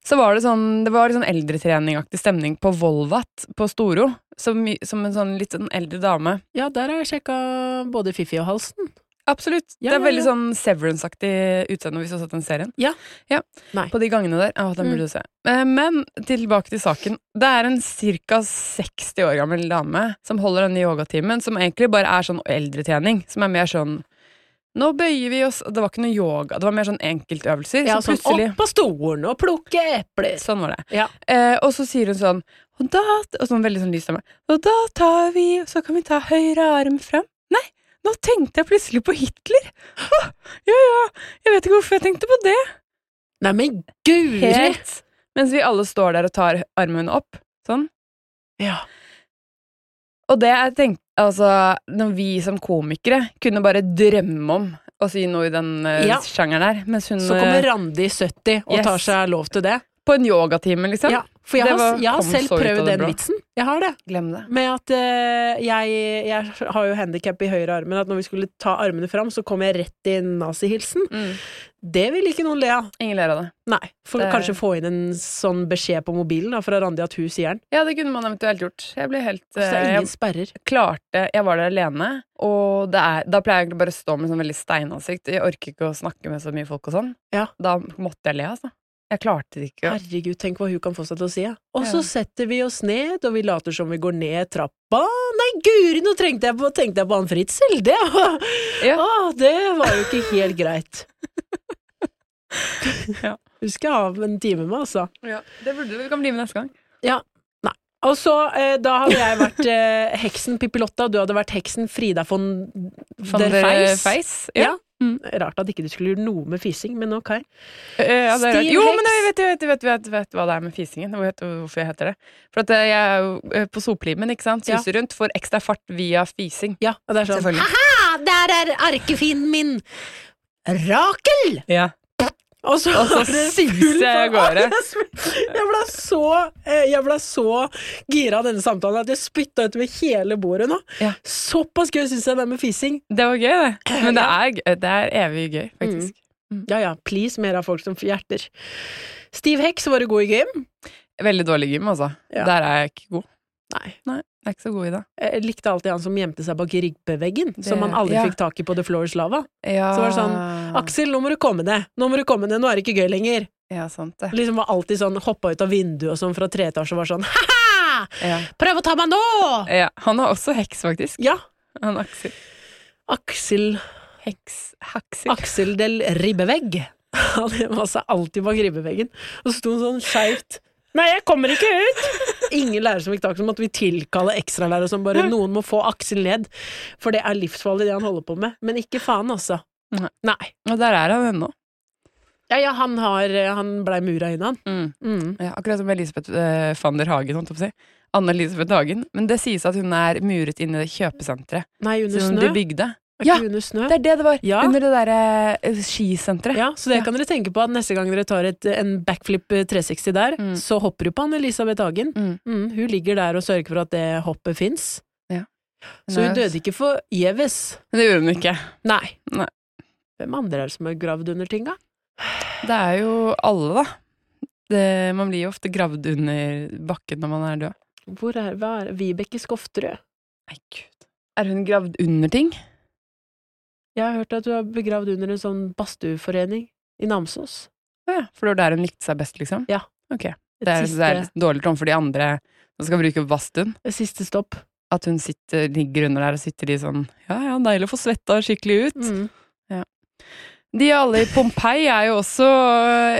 [SPEAKER 3] Så var det sånn Det var litt sånn eldretreningaktig stemning på Volvat på Storo, som, som en sånn litt sånn eldre dame.
[SPEAKER 2] Ja, der har jeg sjekka både Fifi og Halsen.
[SPEAKER 3] Absolutt.
[SPEAKER 2] Ja,
[SPEAKER 3] det er
[SPEAKER 2] ja,
[SPEAKER 3] veldig
[SPEAKER 2] ja.
[SPEAKER 3] sånn Severance-aktig utseende hvis du har sett den serien.
[SPEAKER 2] Ja. Nei. Mm.
[SPEAKER 3] På de gangene der. Å, den burde du se. Eh, Men tilbake til saken. Det er en ca. 60 år gammel dame som holder denne yogatimen, som egentlig bare er sånn eldretrening. Som er mer sånn Nå bøyer vi oss Det var ikke noe yoga, det var mer sånn enkeltøvelser.
[SPEAKER 2] Ja, sånn
[SPEAKER 3] så plutselig
[SPEAKER 2] opp på stolen og plukke epler.
[SPEAKER 3] Sånn var det.
[SPEAKER 2] Ja.
[SPEAKER 3] Eh, og så sier hun sånn Og da og sånn veldig sånn lys stemme. Og da tar vi Så kan vi ta høyre arm fram. Nei, nå tenkte jeg plutselig på Hitler! Åh, ja, ja, jeg vet ikke hvorfor jeg tenkte på det.
[SPEAKER 2] Nei, men guri!
[SPEAKER 3] Helt. Mens vi alle står der og tar armen opp. Sånn.
[SPEAKER 2] Ja.
[SPEAKER 3] Og det jeg tenkte Altså, når vi som komikere kunne bare drømme om å si noe i den eh,
[SPEAKER 2] Ja.
[SPEAKER 3] sjangeren der, mens hun
[SPEAKER 2] Så kommer
[SPEAKER 3] eh,
[SPEAKER 2] Randi 70 og
[SPEAKER 3] Yes.
[SPEAKER 2] tar seg lov til det.
[SPEAKER 3] På en yogatime, liksom.
[SPEAKER 2] Ja, for jeg
[SPEAKER 3] Det
[SPEAKER 2] har,
[SPEAKER 3] var-
[SPEAKER 2] jeg har
[SPEAKER 3] kom
[SPEAKER 2] selv
[SPEAKER 3] så ut av
[SPEAKER 2] prøvd
[SPEAKER 3] det
[SPEAKER 2] den
[SPEAKER 3] blå.
[SPEAKER 2] vitsen. Jeg har det.
[SPEAKER 3] Glem det.
[SPEAKER 2] Med at eh, jeg, jeg har jo handikap i høyre armen, at når vi skulle ta armene fram, så kom jeg rett i nazihilsen.
[SPEAKER 3] Mm.
[SPEAKER 2] Det ville ikke noen le av.
[SPEAKER 3] Ingen ler av det.
[SPEAKER 2] Nei. For
[SPEAKER 3] Det-
[SPEAKER 2] kanskje få inn en sånn beskjed på mobilen da, fra Randi at hun sier den.
[SPEAKER 3] Ja, det kunne man eventuelt gjort. Jeg ble helt
[SPEAKER 2] Så Altså, det er
[SPEAKER 3] eh, jeg
[SPEAKER 2] ingen sperrer.
[SPEAKER 3] klarte Jeg var der alene, og det er, da pleier jeg egentlig bare å stå med sånn veldig steinansikt. Jeg orker ikke å snakke med så mye folk og sånn.
[SPEAKER 2] Ja.
[SPEAKER 3] Da måtte jeg le, altså. Jeg klarte det ikke.
[SPEAKER 2] Herregud, tenk hva hun kan få seg til å si. Ja. Og så
[SPEAKER 3] Ja.
[SPEAKER 2] setter vi oss ned, og vi later som vi går ned trappa. Nei, guri, nå tenkte jeg på, tenkte jeg på han Fritzel! Det, var-
[SPEAKER 3] Ja.
[SPEAKER 2] Å, det var jo ikke helt greit.
[SPEAKER 3] Ja.
[SPEAKER 2] Husker jeg av en time med, altså.
[SPEAKER 3] Ja, det burde du. Du kan bli med neste gang.
[SPEAKER 2] Og så, eh, da hadde jeg vært eh, heksen Pippilotta, og du hadde vært heksen Frida von der Feis.
[SPEAKER 3] Ja. Mm.
[SPEAKER 2] Ja. Rart at ikke du skulle gjøre noe med fising, men ok.
[SPEAKER 3] Eh, ja, det er rart.
[SPEAKER 2] Stiv
[SPEAKER 3] Jo,
[SPEAKER 2] heks.
[SPEAKER 3] men jeg vet, jeg vet, jeg vet, jeg vet, jeg vet hva det er med fisingen. Jeg vet hvorfor jeg heter det. For at eh, jeg er jo eh, på soplimen, ikke sant.
[SPEAKER 2] Ja.
[SPEAKER 3] Suser rundt, får ekstra fart via fising.
[SPEAKER 2] Ja, og det er sånn
[SPEAKER 3] Selvfølgelig.
[SPEAKER 2] Ha, der er arkefienden min! Rakel!
[SPEAKER 3] Ja.
[SPEAKER 2] Og så,
[SPEAKER 3] Og så
[SPEAKER 2] var det
[SPEAKER 3] suser
[SPEAKER 2] full
[SPEAKER 3] jeg av
[SPEAKER 2] fart.
[SPEAKER 3] gårde.
[SPEAKER 2] Jeg sp- Jeg ble så eh, Jeg ble så gira av denne samtalen at jeg spytta utover hele bordet nå.
[SPEAKER 3] Ja.
[SPEAKER 2] Såpass gøy syns jeg det er med fising.
[SPEAKER 3] Det var gøy, det. Men det er, gøy- det er evig gøy, faktisk.
[SPEAKER 2] Ja ja, please, mer av folk som får hjerter. Steve Hex var jo god i game.
[SPEAKER 3] Veldig dårlig gym, altså.
[SPEAKER 2] Ja.
[SPEAKER 3] Der er jeg ikke god.
[SPEAKER 2] Nei.
[SPEAKER 3] Nei, jeg er ikke så god i det.
[SPEAKER 2] Jeg likte alltid han som gjemte seg bak ribbeveggen,
[SPEAKER 3] Det-
[SPEAKER 2] som han aldri
[SPEAKER 3] ja.
[SPEAKER 2] fikk tak i på The Floors Lava.
[SPEAKER 3] Ja.
[SPEAKER 2] Så var det sånn Aksel, nå må du komme ned! Nå må du komme ned, nå er det ikke gøy lenger!
[SPEAKER 3] Ja, sant det.
[SPEAKER 2] Liksom var alltid sånn, hoppa ut av vinduet og sånn fra treetasje og var sånn ha-ha!
[SPEAKER 3] Ja.
[SPEAKER 2] Prøv å ta meg nå!
[SPEAKER 3] ja. Han er også heks, faktisk.
[SPEAKER 2] Ja.
[SPEAKER 3] Han Aksel.
[SPEAKER 2] Aksel
[SPEAKER 3] Heks. Haksel.
[SPEAKER 2] Aksel del Ribbevegg. Han gjemte seg alltid bak ribbeveggen, og så sto han sånn skeivt. Nei, jeg kommer ikke ut! Ingen lærere som fikk tak i ham, måtte vi tilkalle ekstralærere som bare Noen må få Aksel ned, for det er livsfarlig det han holder på med. Men ikke faen, altså.
[SPEAKER 3] Nei.
[SPEAKER 2] Nei.
[SPEAKER 3] Og der er han ennå.
[SPEAKER 2] Ja, ja, han, har, han blei mura inne, han. Mm.
[SPEAKER 3] Ja, akkurat som Elisabeth eh, van der Hagen, holdt jeg på å si. Anne-Elisabeth Hagen. Men det sies at hun er muret inn i det kjøpesenteret
[SPEAKER 2] Nei, under
[SPEAKER 3] som
[SPEAKER 2] snø.
[SPEAKER 3] de bygde.
[SPEAKER 2] Er
[SPEAKER 3] Ja,
[SPEAKER 2] ikke under snø?
[SPEAKER 3] det er det det var!
[SPEAKER 2] Ja.
[SPEAKER 3] Under det derre eh, skisenteret.
[SPEAKER 2] Ja, så det
[SPEAKER 3] Ja.
[SPEAKER 2] kan dere tenke på at neste gang dere tar et, en backflip eh, 360 der,
[SPEAKER 3] Mm.
[SPEAKER 2] så hopper du på han Elisabeth Hagen.
[SPEAKER 3] Mm.
[SPEAKER 2] Mm, hun ligger der og sørger for at det hoppet fins.
[SPEAKER 3] Ja.
[SPEAKER 2] Så hun
[SPEAKER 3] Nei,
[SPEAKER 2] døde ikke forgjeves.
[SPEAKER 3] Men det gjorde hun ikke.
[SPEAKER 2] Nei.
[SPEAKER 3] Nei.
[SPEAKER 2] Hvem andre er det som er gravd under ting, da?
[SPEAKER 3] Det er jo alle, da. Det, man blir jo ofte gravd under bakken når man er død.
[SPEAKER 2] Hvor er, hva er Vibeke Skofterød?
[SPEAKER 3] Nei, gud. Er hun gravd under ting?
[SPEAKER 2] Jeg har hørt at du er begravd under en sånn badstueforening i Namsos.
[SPEAKER 3] Å Ja, for det var der hun likte seg best, liksom?
[SPEAKER 2] Ja.
[SPEAKER 3] Ok.
[SPEAKER 2] Et
[SPEAKER 3] Det er,
[SPEAKER 2] siste,
[SPEAKER 3] det er litt dårlig tom for de andre som skal bruke badstuen.
[SPEAKER 2] et siste stopp.
[SPEAKER 3] At hun sitter, ligger under der og sitter i sånn Ja, ja, deilig å få svetta skikkelig ut.
[SPEAKER 2] Mm.
[SPEAKER 3] De alle i Pompeii er jo også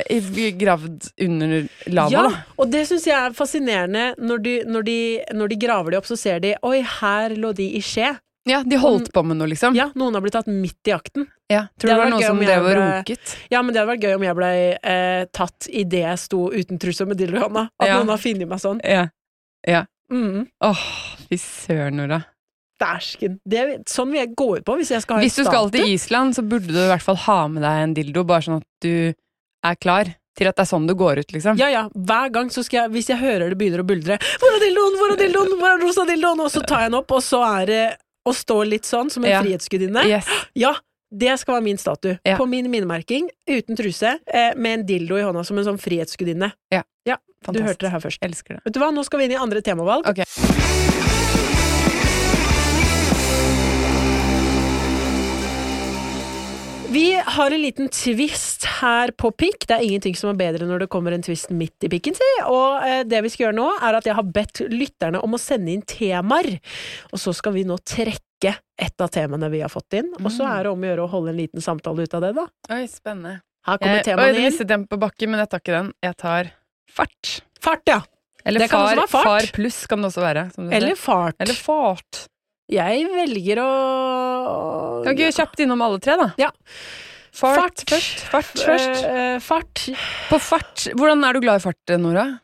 [SPEAKER 3] eh, gravd under lava,
[SPEAKER 2] ja,
[SPEAKER 3] da.
[SPEAKER 2] og det syns jeg er fascinerende. Når de, når, de, når de graver de opp, så ser de Oi, her lå de i skje.
[SPEAKER 3] Ja, de holdt på med noe, liksom.
[SPEAKER 2] Mm. Ja, noen har blitt tatt midt i jakten.
[SPEAKER 3] Ja. Tror
[SPEAKER 2] Det
[SPEAKER 3] du det var
[SPEAKER 2] hadde vært
[SPEAKER 3] noen
[SPEAKER 2] gøy om
[SPEAKER 3] som
[SPEAKER 2] jeg
[SPEAKER 3] drev og
[SPEAKER 2] ble-
[SPEAKER 3] roket?
[SPEAKER 2] Ja, men det hadde vært gøy om jeg blei eh, tatt idet jeg sto uten truse og med dildo i hånda. At
[SPEAKER 3] Ja.
[SPEAKER 2] noen har funnet meg sånn.
[SPEAKER 3] Ja.
[SPEAKER 2] Mm.
[SPEAKER 3] Åh, fy søren, Nora.
[SPEAKER 2] Dæsken. Det er sånn vil jeg gå ut på hvis jeg skal ha
[SPEAKER 3] Hvis du
[SPEAKER 2] en
[SPEAKER 3] skal
[SPEAKER 2] statue.
[SPEAKER 3] til Island, så burde du i hvert fall ha med deg en dildo, bare sånn at du er klar til at det er sånn du går ut, liksom.
[SPEAKER 2] Ja, ja. Hver gang så skal jeg, hvis jeg hører det begynner å buldre Hvor er dildoen? Hvor er dildoen? Hvor er rosa dildoen? Og så tar jeg den opp, og så er det å stå litt sånn, som en
[SPEAKER 3] Ja.
[SPEAKER 2] frihetsgudinne.
[SPEAKER 3] Yes.
[SPEAKER 2] Ja, det skal være min statue.
[SPEAKER 3] Ja.
[SPEAKER 2] På min minnemerking, uten truse, eh, med en dildo i hånda som en sånn frihetsgudinne. Du
[SPEAKER 3] Fantastisk.
[SPEAKER 2] hørte det her først.
[SPEAKER 3] Elsker det.
[SPEAKER 2] Vet du hva, nå skal vi inn i andre temavalg.
[SPEAKER 3] Ok.
[SPEAKER 2] Vi har en liten twist her på pikk. Det er ingenting som er bedre når det kommer en twist midt i pikken, si. Og eh, det vi skal gjøre nå, er at jeg har bedt lytterne om å sende inn temaer. Og så skal vi nå trekke et av temaene vi har fått inn. Og så
[SPEAKER 3] Mm.
[SPEAKER 2] er det om å gjøre å holde en liten samtale ut av det, da.
[SPEAKER 3] Oi, spennende.
[SPEAKER 2] Her
[SPEAKER 3] Eh, Jeg,
[SPEAKER 2] kommer
[SPEAKER 3] oi,
[SPEAKER 2] temaene
[SPEAKER 3] det
[SPEAKER 2] inn.
[SPEAKER 3] visste den på bakken, men jeg tar ikke den. Jeg tar fart.
[SPEAKER 2] Fart, ja.
[SPEAKER 3] Eller
[SPEAKER 2] Det kan også
[SPEAKER 3] far,
[SPEAKER 2] være fart.
[SPEAKER 3] far pluss kan det også være. som det
[SPEAKER 2] Eller
[SPEAKER 3] heter.
[SPEAKER 2] fart.
[SPEAKER 3] Eller fart.
[SPEAKER 2] Jeg velger å
[SPEAKER 3] Kan vi ikke kjapt innom alle tre, da?
[SPEAKER 2] Ja.
[SPEAKER 3] Fart,
[SPEAKER 2] Fart.
[SPEAKER 3] først. Fart først.
[SPEAKER 2] Eh, eh, fart.
[SPEAKER 3] På fart, hvordan er du glad i fart, Nora?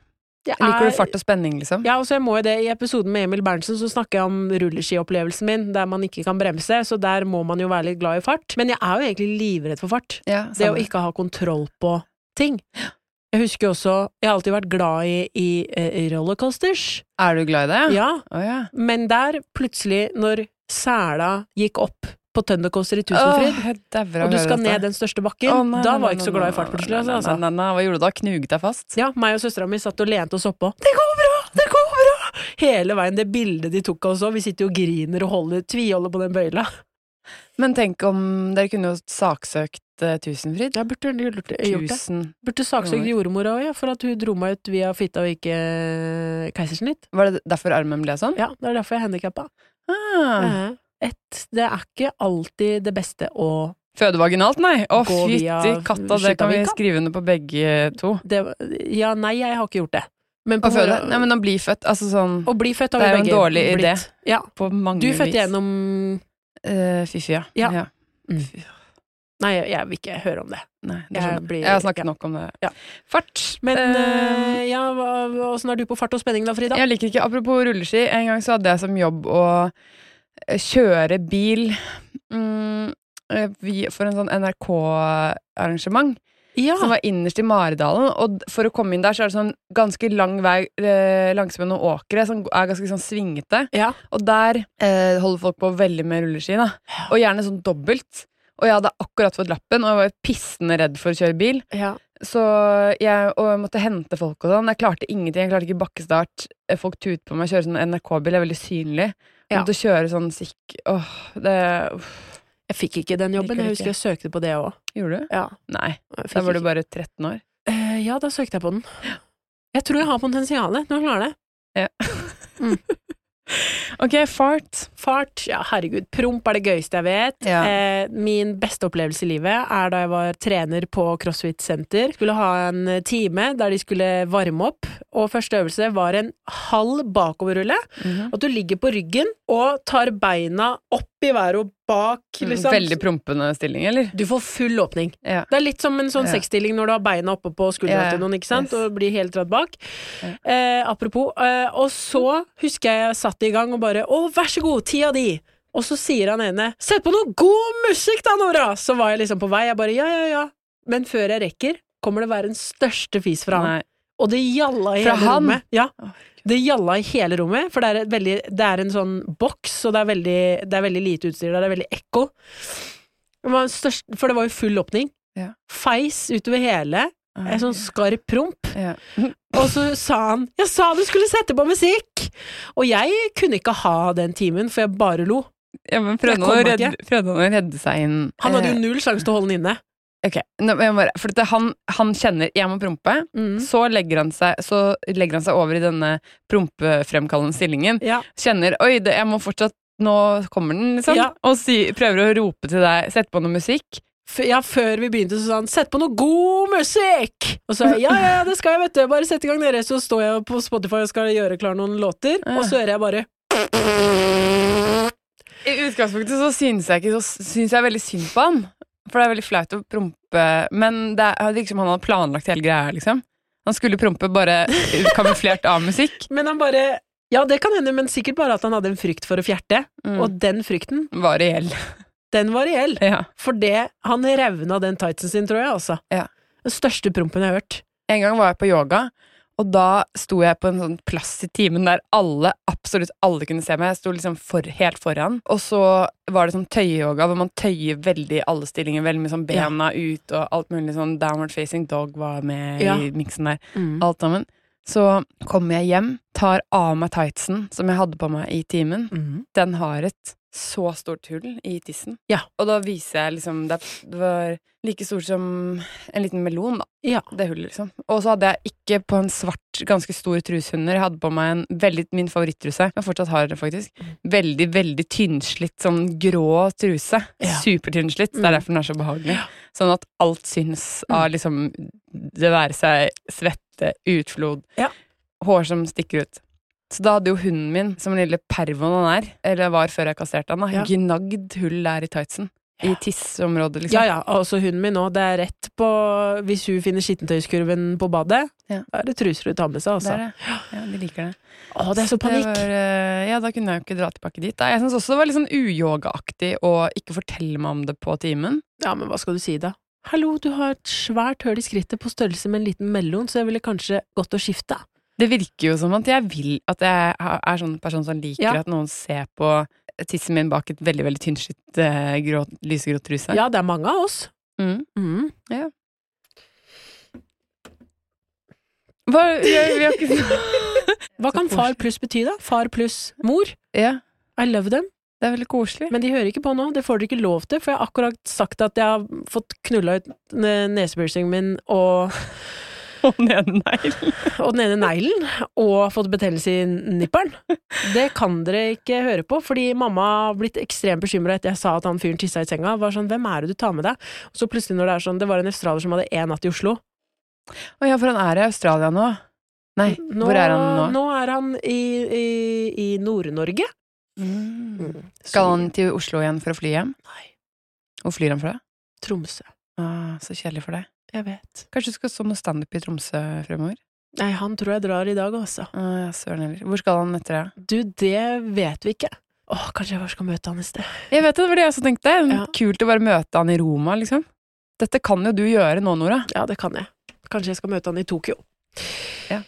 [SPEAKER 2] Jeg
[SPEAKER 3] Liker
[SPEAKER 2] er-
[SPEAKER 3] du fart og spenning, liksom?
[SPEAKER 2] Eh, Ja, og så jeg må jo det. I episoden med Emil Berntsen så snakker jeg om rulleskiopplevelsen min, der man ikke kan bremse, så der må man jo være litt glad i fart. Men jeg er jo egentlig livredd for fart.
[SPEAKER 3] Ja,
[SPEAKER 2] Det å
[SPEAKER 3] samme.
[SPEAKER 2] ikke ha kontroll på ting. Jeg husker jo også Jeg har alltid vært glad i, i, eh, i rollercoasters.
[SPEAKER 3] Er du glad i det?
[SPEAKER 2] Ja.
[SPEAKER 3] Å ja.
[SPEAKER 2] Men der, plutselig, når sela gikk opp på Thundercoaster i Tusenfryd,
[SPEAKER 3] Åh, jeg dauer av
[SPEAKER 2] og du
[SPEAKER 3] å høre
[SPEAKER 2] skal
[SPEAKER 3] dette.
[SPEAKER 2] ned den største bakken,
[SPEAKER 3] Å, nei,
[SPEAKER 2] da
[SPEAKER 3] nei,
[SPEAKER 2] var
[SPEAKER 3] nei,
[SPEAKER 2] jeg ikke så
[SPEAKER 3] nei,
[SPEAKER 2] glad i
[SPEAKER 3] nei,
[SPEAKER 2] fart plutselig.
[SPEAKER 3] nei,
[SPEAKER 2] altså,
[SPEAKER 3] nei,
[SPEAKER 2] altså.
[SPEAKER 3] nei, nei, Hva gjorde du da? Knuget deg fast?
[SPEAKER 2] Ja, meg og søstera mi satt og lente oss oppå. Det går bra! Det går bra! Hele veien. Det bildet de tok av oss òg. Vi sitter jo og griner og holder, tviholder på den bøyla.
[SPEAKER 3] Men tenk om dere kunne jo saksøkt eh, Tusenfryd?
[SPEAKER 2] Jeg burde gjort det.
[SPEAKER 3] Tusen.
[SPEAKER 2] Burde saksøkt
[SPEAKER 3] Oi.
[SPEAKER 2] jordmora òg, ja, for at hun dro meg ut via fitta og ikke eh, keisersnitt.
[SPEAKER 3] Var det derfor armen ble sånn?
[SPEAKER 2] Ja, det er derfor jeg er handikappa.
[SPEAKER 3] Ah.
[SPEAKER 2] Et, det er ikke alltid det beste å
[SPEAKER 3] Føde vaginalt, nei? Å,
[SPEAKER 2] Gå via
[SPEAKER 3] fytti katta, det kan vi
[SPEAKER 2] Skjøttavika.
[SPEAKER 3] skrive under på begge to.
[SPEAKER 2] det, Ja, nei, jeg har ikke gjort det. Men
[SPEAKER 3] Å føde? Nei, men å bli født, altså sånn
[SPEAKER 2] å bli født har vi
[SPEAKER 3] Det er jo en
[SPEAKER 2] begge
[SPEAKER 3] dårlig
[SPEAKER 2] blitt.
[SPEAKER 3] idé.
[SPEAKER 2] Ja.
[SPEAKER 3] på mange
[SPEAKER 2] Du
[SPEAKER 3] vis.
[SPEAKER 2] fødte gjennom
[SPEAKER 3] Eh, Fiffi, ja.
[SPEAKER 2] Ja.
[SPEAKER 3] ja.
[SPEAKER 2] Nei, jeg, jeg vil ikke høre om det.
[SPEAKER 3] Nei, det
[SPEAKER 2] Jeg
[SPEAKER 3] skjønner jeg.
[SPEAKER 2] blir-
[SPEAKER 3] Jeg har snakket
[SPEAKER 2] ja.
[SPEAKER 3] nok om det.
[SPEAKER 2] Ja.
[SPEAKER 3] Fart.
[SPEAKER 2] Men
[SPEAKER 3] Eh,
[SPEAKER 2] eh, ja, hva- hva- åssen er du på fart og spenning da, Frida?
[SPEAKER 3] Jeg liker ikke, apropos rulleski, en gang så hadde jeg som jobb å eh, kjøre bil mm, eh, vi- for en sånn NRK-arrangement
[SPEAKER 2] Ja.
[SPEAKER 3] som var innerst i Maridalen. Og d- for å komme inn der så er det sånn ganske lang vei eh, langsom noen åkre som er ganske sånn svingete.
[SPEAKER 2] Ja.
[SPEAKER 3] Og der eh, holder folk på veldig med rulleski, da. Og gjerne sånn dobbelt. Og jeg hadde akkurat fått lappen, og jeg var pissende redd for å kjøre bil. Så jeg og jeg måtte hente folk og sånn. Jeg klarte ingenting. Jeg klarte ikke bakkestart. Eh, Folk tuter på meg. Kjøre sånn NRK-bil er veldig synlig. Jeg
[SPEAKER 2] Ja.
[SPEAKER 3] måtte kjøre sånn sikk... Åh, det uff.
[SPEAKER 2] Jeg fikk ikke den jobben.
[SPEAKER 3] Liker
[SPEAKER 2] Jeg
[SPEAKER 3] du
[SPEAKER 2] husker jeg søkte på det òg.
[SPEAKER 3] Gjorde du?
[SPEAKER 2] Ja,
[SPEAKER 3] Nei.
[SPEAKER 2] jeg
[SPEAKER 3] Da
[SPEAKER 2] fikk
[SPEAKER 3] var du
[SPEAKER 2] ikke-
[SPEAKER 3] bare 13 år.
[SPEAKER 2] Eh, ja, da søkte jeg på den. Jeg tror jeg har potensialet. Nå klarer jeg det. Mm.
[SPEAKER 3] Ok, fart.
[SPEAKER 2] Fart, ja herregud, promp er det gøyeste jeg vet.
[SPEAKER 3] Ja.
[SPEAKER 2] Eh, min beste opplevelse i livet er da jeg var trener på CrossFit Senter. Skulle ha en eh, time der de skulle varme opp, og første øvelse var en halv bakoverrulle.
[SPEAKER 3] Mhm.
[SPEAKER 2] At du ligger på ryggen og tar beina opp i været og bak, liksom.
[SPEAKER 3] Mm, Veldig prompende stilling, eller?
[SPEAKER 2] Du får full åpning.
[SPEAKER 3] Ja.
[SPEAKER 2] Det er litt som en sånn
[SPEAKER 3] Ja.
[SPEAKER 2] sexstilling når du har beina oppe på skuldra
[SPEAKER 3] Ja, ja.
[SPEAKER 2] til noen, ikke sant,
[SPEAKER 3] Yes.
[SPEAKER 2] og blir helt dratt bak.
[SPEAKER 3] Ja.
[SPEAKER 2] Eh, apropos. Eh, og så husker jeg jeg satt i gang og bare Å, vær så god, ti av de! Og så sier han ene Sett på noe god musikk da, Nora! Så var jeg liksom på vei. Jeg bare ja, ja, ja. Men før jeg rekker, kommer det verdens største fis fra han.
[SPEAKER 3] Nei.
[SPEAKER 2] Og det gjalla i
[SPEAKER 3] Fra
[SPEAKER 2] hele
[SPEAKER 3] han?
[SPEAKER 2] rommet. Ja.
[SPEAKER 3] Å,
[SPEAKER 2] Det gjalla i hele rommet, for det er, et veldig, det er en sånn boks, og det er veldig, det er veldig lite utstyr der, det er veldig ekko. Det var størst, for det var jo full åpning.
[SPEAKER 3] Ja.
[SPEAKER 2] Feis utover hele, en sånn skarp promp.
[SPEAKER 3] Ja.
[SPEAKER 2] Og så sa han 'Jeg sa du skulle sette på musikk!' Og jeg kunne ikke ha den timen, for jeg bare lo.
[SPEAKER 3] ja, men
[SPEAKER 2] Jeg
[SPEAKER 3] prøvde
[SPEAKER 2] kom
[SPEAKER 3] han å
[SPEAKER 2] meg
[SPEAKER 3] redde, prøvde han å redde seg inn
[SPEAKER 2] Han hadde jo
[SPEAKER 3] Eh,
[SPEAKER 2] null sjanse til å holde den inne.
[SPEAKER 3] Ok, Nå, men jeg må bare, for dette, han, han kjenner 'jeg må prompe',
[SPEAKER 2] Mm.
[SPEAKER 3] så, legger han seg, så legger han seg over i denne prompefremkallende stillingen.
[SPEAKER 2] Ja.
[SPEAKER 3] Kjenner 'oi, det, jeg må fortsatt Nå kommer den', liksom.
[SPEAKER 2] Ja.
[SPEAKER 3] Og si, prøver å rope til deg, sette på noe musikk.
[SPEAKER 2] F ja, før vi begynte, så sa han 'sett på noe god musikk'! Og så sa jeg 'ja, ja, ja, det skal jeg, vet du, bare sett i gang dere', så står jeg på Spotify og skal gjøre klar noen låter, og så hører jeg bare
[SPEAKER 3] I utgangspunktet så syns jeg ikke så syns jeg veldig synd på han. For det er veldig flaut å prompe, men det er det virker som han hadde planlagt hele greia, liksom. Han skulle prompe, bare kamuflert av musikk.
[SPEAKER 2] Men han bare Ja, det kan hende, men sikkert bare at han hadde en frykt for å fjerte.
[SPEAKER 3] Mm.
[SPEAKER 2] Og den frykten,
[SPEAKER 3] Var reell.
[SPEAKER 2] den var reell.
[SPEAKER 3] Ja.
[SPEAKER 2] For det, han revna den tightsen sin, tror jeg, altså.
[SPEAKER 3] Ja.
[SPEAKER 2] Den største prompen jeg har hørt.
[SPEAKER 3] En gang var jeg på yoga, og da sto jeg på en sånn plass i timen der alle, absolutt alle kunne se meg. Jeg sto liksom for, helt foran. Og så var det sånn tøyeyoga, hvor man tøyer veldig i alle stillinger, veldig med sånn bena ut og alt mulig sånn downward facing dog var med
[SPEAKER 2] Ja. Mm.
[SPEAKER 3] i miksen der. Alt sammen. Så kommer jeg hjem, tar av meg tightsen som jeg hadde på meg i timen.
[SPEAKER 2] Mhm.
[SPEAKER 3] Den har et så stort hull i tissen.
[SPEAKER 2] Ja.
[SPEAKER 3] Og da viser jeg liksom Det er- det var like stort som en liten melon, da
[SPEAKER 2] Ja.
[SPEAKER 3] det hullet, liksom. Og så hadde jeg ikke på en svart, ganske stor trushunder. Jeg hadde på meg en veldig, min favorittruse. Jeg fortsatt har den, faktisk. Veldig, veldig tynnslitt, sånn grå truse.
[SPEAKER 2] Ja.
[SPEAKER 3] Supertynnslitt. Det
[SPEAKER 2] Mm.
[SPEAKER 3] er derfor den er så behagelig. Sånn at alt syns av liksom Det være seg svette, utflod,
[SPEAKER 2] Ja.
[SPEAKER 3] hår som stikker ut. Så da hadde jo hunden min, som den lille pervoen han er, eller var før jeg kastrerte han, da,
[SPEAKER 2] Ja.
[SPEAKER 3] gnagd hull der i tightsen. I tisseområdet, liksom.
[SPEAKER 2] Ja ja, altså hunden min òg. Det er rett på Hvis hun finner skittentøyskurven på badet,
[SPEAKER 3] Ja.
[SPEAKER 2] da er det truser hun tar med seg,
[SPEAKER 3] Det
[SPEAKER 2] altså.
[SPEAKER 3] er det. Ja, de liker det.
[SPEAKER 2] Å, det er så panikk!
[SPEAKER 3] var, eh, ja, da kunne jeg jo ikke dra tilbake dit. Da. Jeg syns også det var litt sånn uyogaaktig å ikke fortelle meg om det på timen.
[SPEAKER 2] Ja, men hva skal du si da? Hallo, du har et svært høl i skrittet på størrelse med en liten mellom, så jeg ville kanskje gått og skifta.
[SPEAKER 3] Det virker jo som at jeg vil at jeg ha- er sånn person som liker
[SPEAKER 2] Ja.
[SPEAKER 3] at noen ser på tissen min bak et veldig veldig tynnslitt eh, grå, lysegrå truse.
[SPEAKER 2] Ja, det er mange av oss.
[SPEAKER 3] Mm.
[SPEAKER 2] Mm.
[SPEAKER 3] Hva, vi, har- vi har ikke
[SPEAKER 2] Hva
[SPEAKER 3] Så
[SPEAKER 2] kan far pluss bety, da? Far pluss mor?
[SPEAKER 3] Ja,
[SPEAKER 2] I love them.
[SPEAKER 3] det er veldig koselig.
[SPEAKER 2] Men de hører ikke på nå, det får dere ikke lov til, for jeg har akkurat sagt at jeg har fått knulla ut n- nesepiercingen min og,
[SPEAKER 3] Og nednegl.
[SPEAKER 2] og den ene neglen, og fått betennelse i nipperen. Det kan dere ikke høre på, fordi mamma har blitt ekstremt bekymra etter jeg sa at han fyren tissa i senga. Var sånn, hvem er det du tar med deg? Og så plutselig når det er sånn, det var en australier som hadde én natt i Oslo.
[SPEAKER 3] Å ja, for han er i Australia nå. Nei,
[SPEAKER 2] Nå,
[SPEAKER 3] hvor er han nå?
[SPEAKER 2] Nå er han i, i, i Nord-Norge.
[SPEAKER 3] Mm.
[SPEAKER 2] Så-
[SPEAKER 3] Skal han til Oslo igjen for å fly hjem?
[SPEAKER 2] Nei,
[SPEAKER 3] Hvor flyr han fra?
[SPEAKER 2] Tromsø.
[SPEAKER 3] Ah, så kjedelig for deg.
[SPEAKER 2] Jeg vet.
[SPEAKER 3] Kanskje du skal stå noe standup i Tromsø fremover?
[SPEAKER 2] Nei, han tror jeg drar i dag, altså.
[SPEAKER 3] Å, ja, søren heller. Hvor skal han etter det?
[SPEAKER 2] Du, det vet vi ikke. Åh, kanskje jeg bare skal møte han i sted.
[SPEAKER 3] Jeg vet det, det var det jeg også tenkte.
[SPEAKER 2] Ja.
[SPEAKER 3] Kult å bare møte han i Roma, liksom. Dette kan jo du gjøre nå, Nora.
[SPEAKER 2] Ja, det kan jeg. Kanskje jeg skal møte han i Tokyo.
[SPEAKER 3] Ja.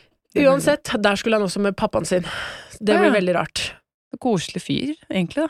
[SPEAKER 2] Uansett, der skulle han også med pappaen sin. Det blir
[SPEAKER 3] Mm. Ah, Ja.
[SPEAKER 2] veldig rart.
[SPEAKER 3] En Koselig fyr, egentlig. da.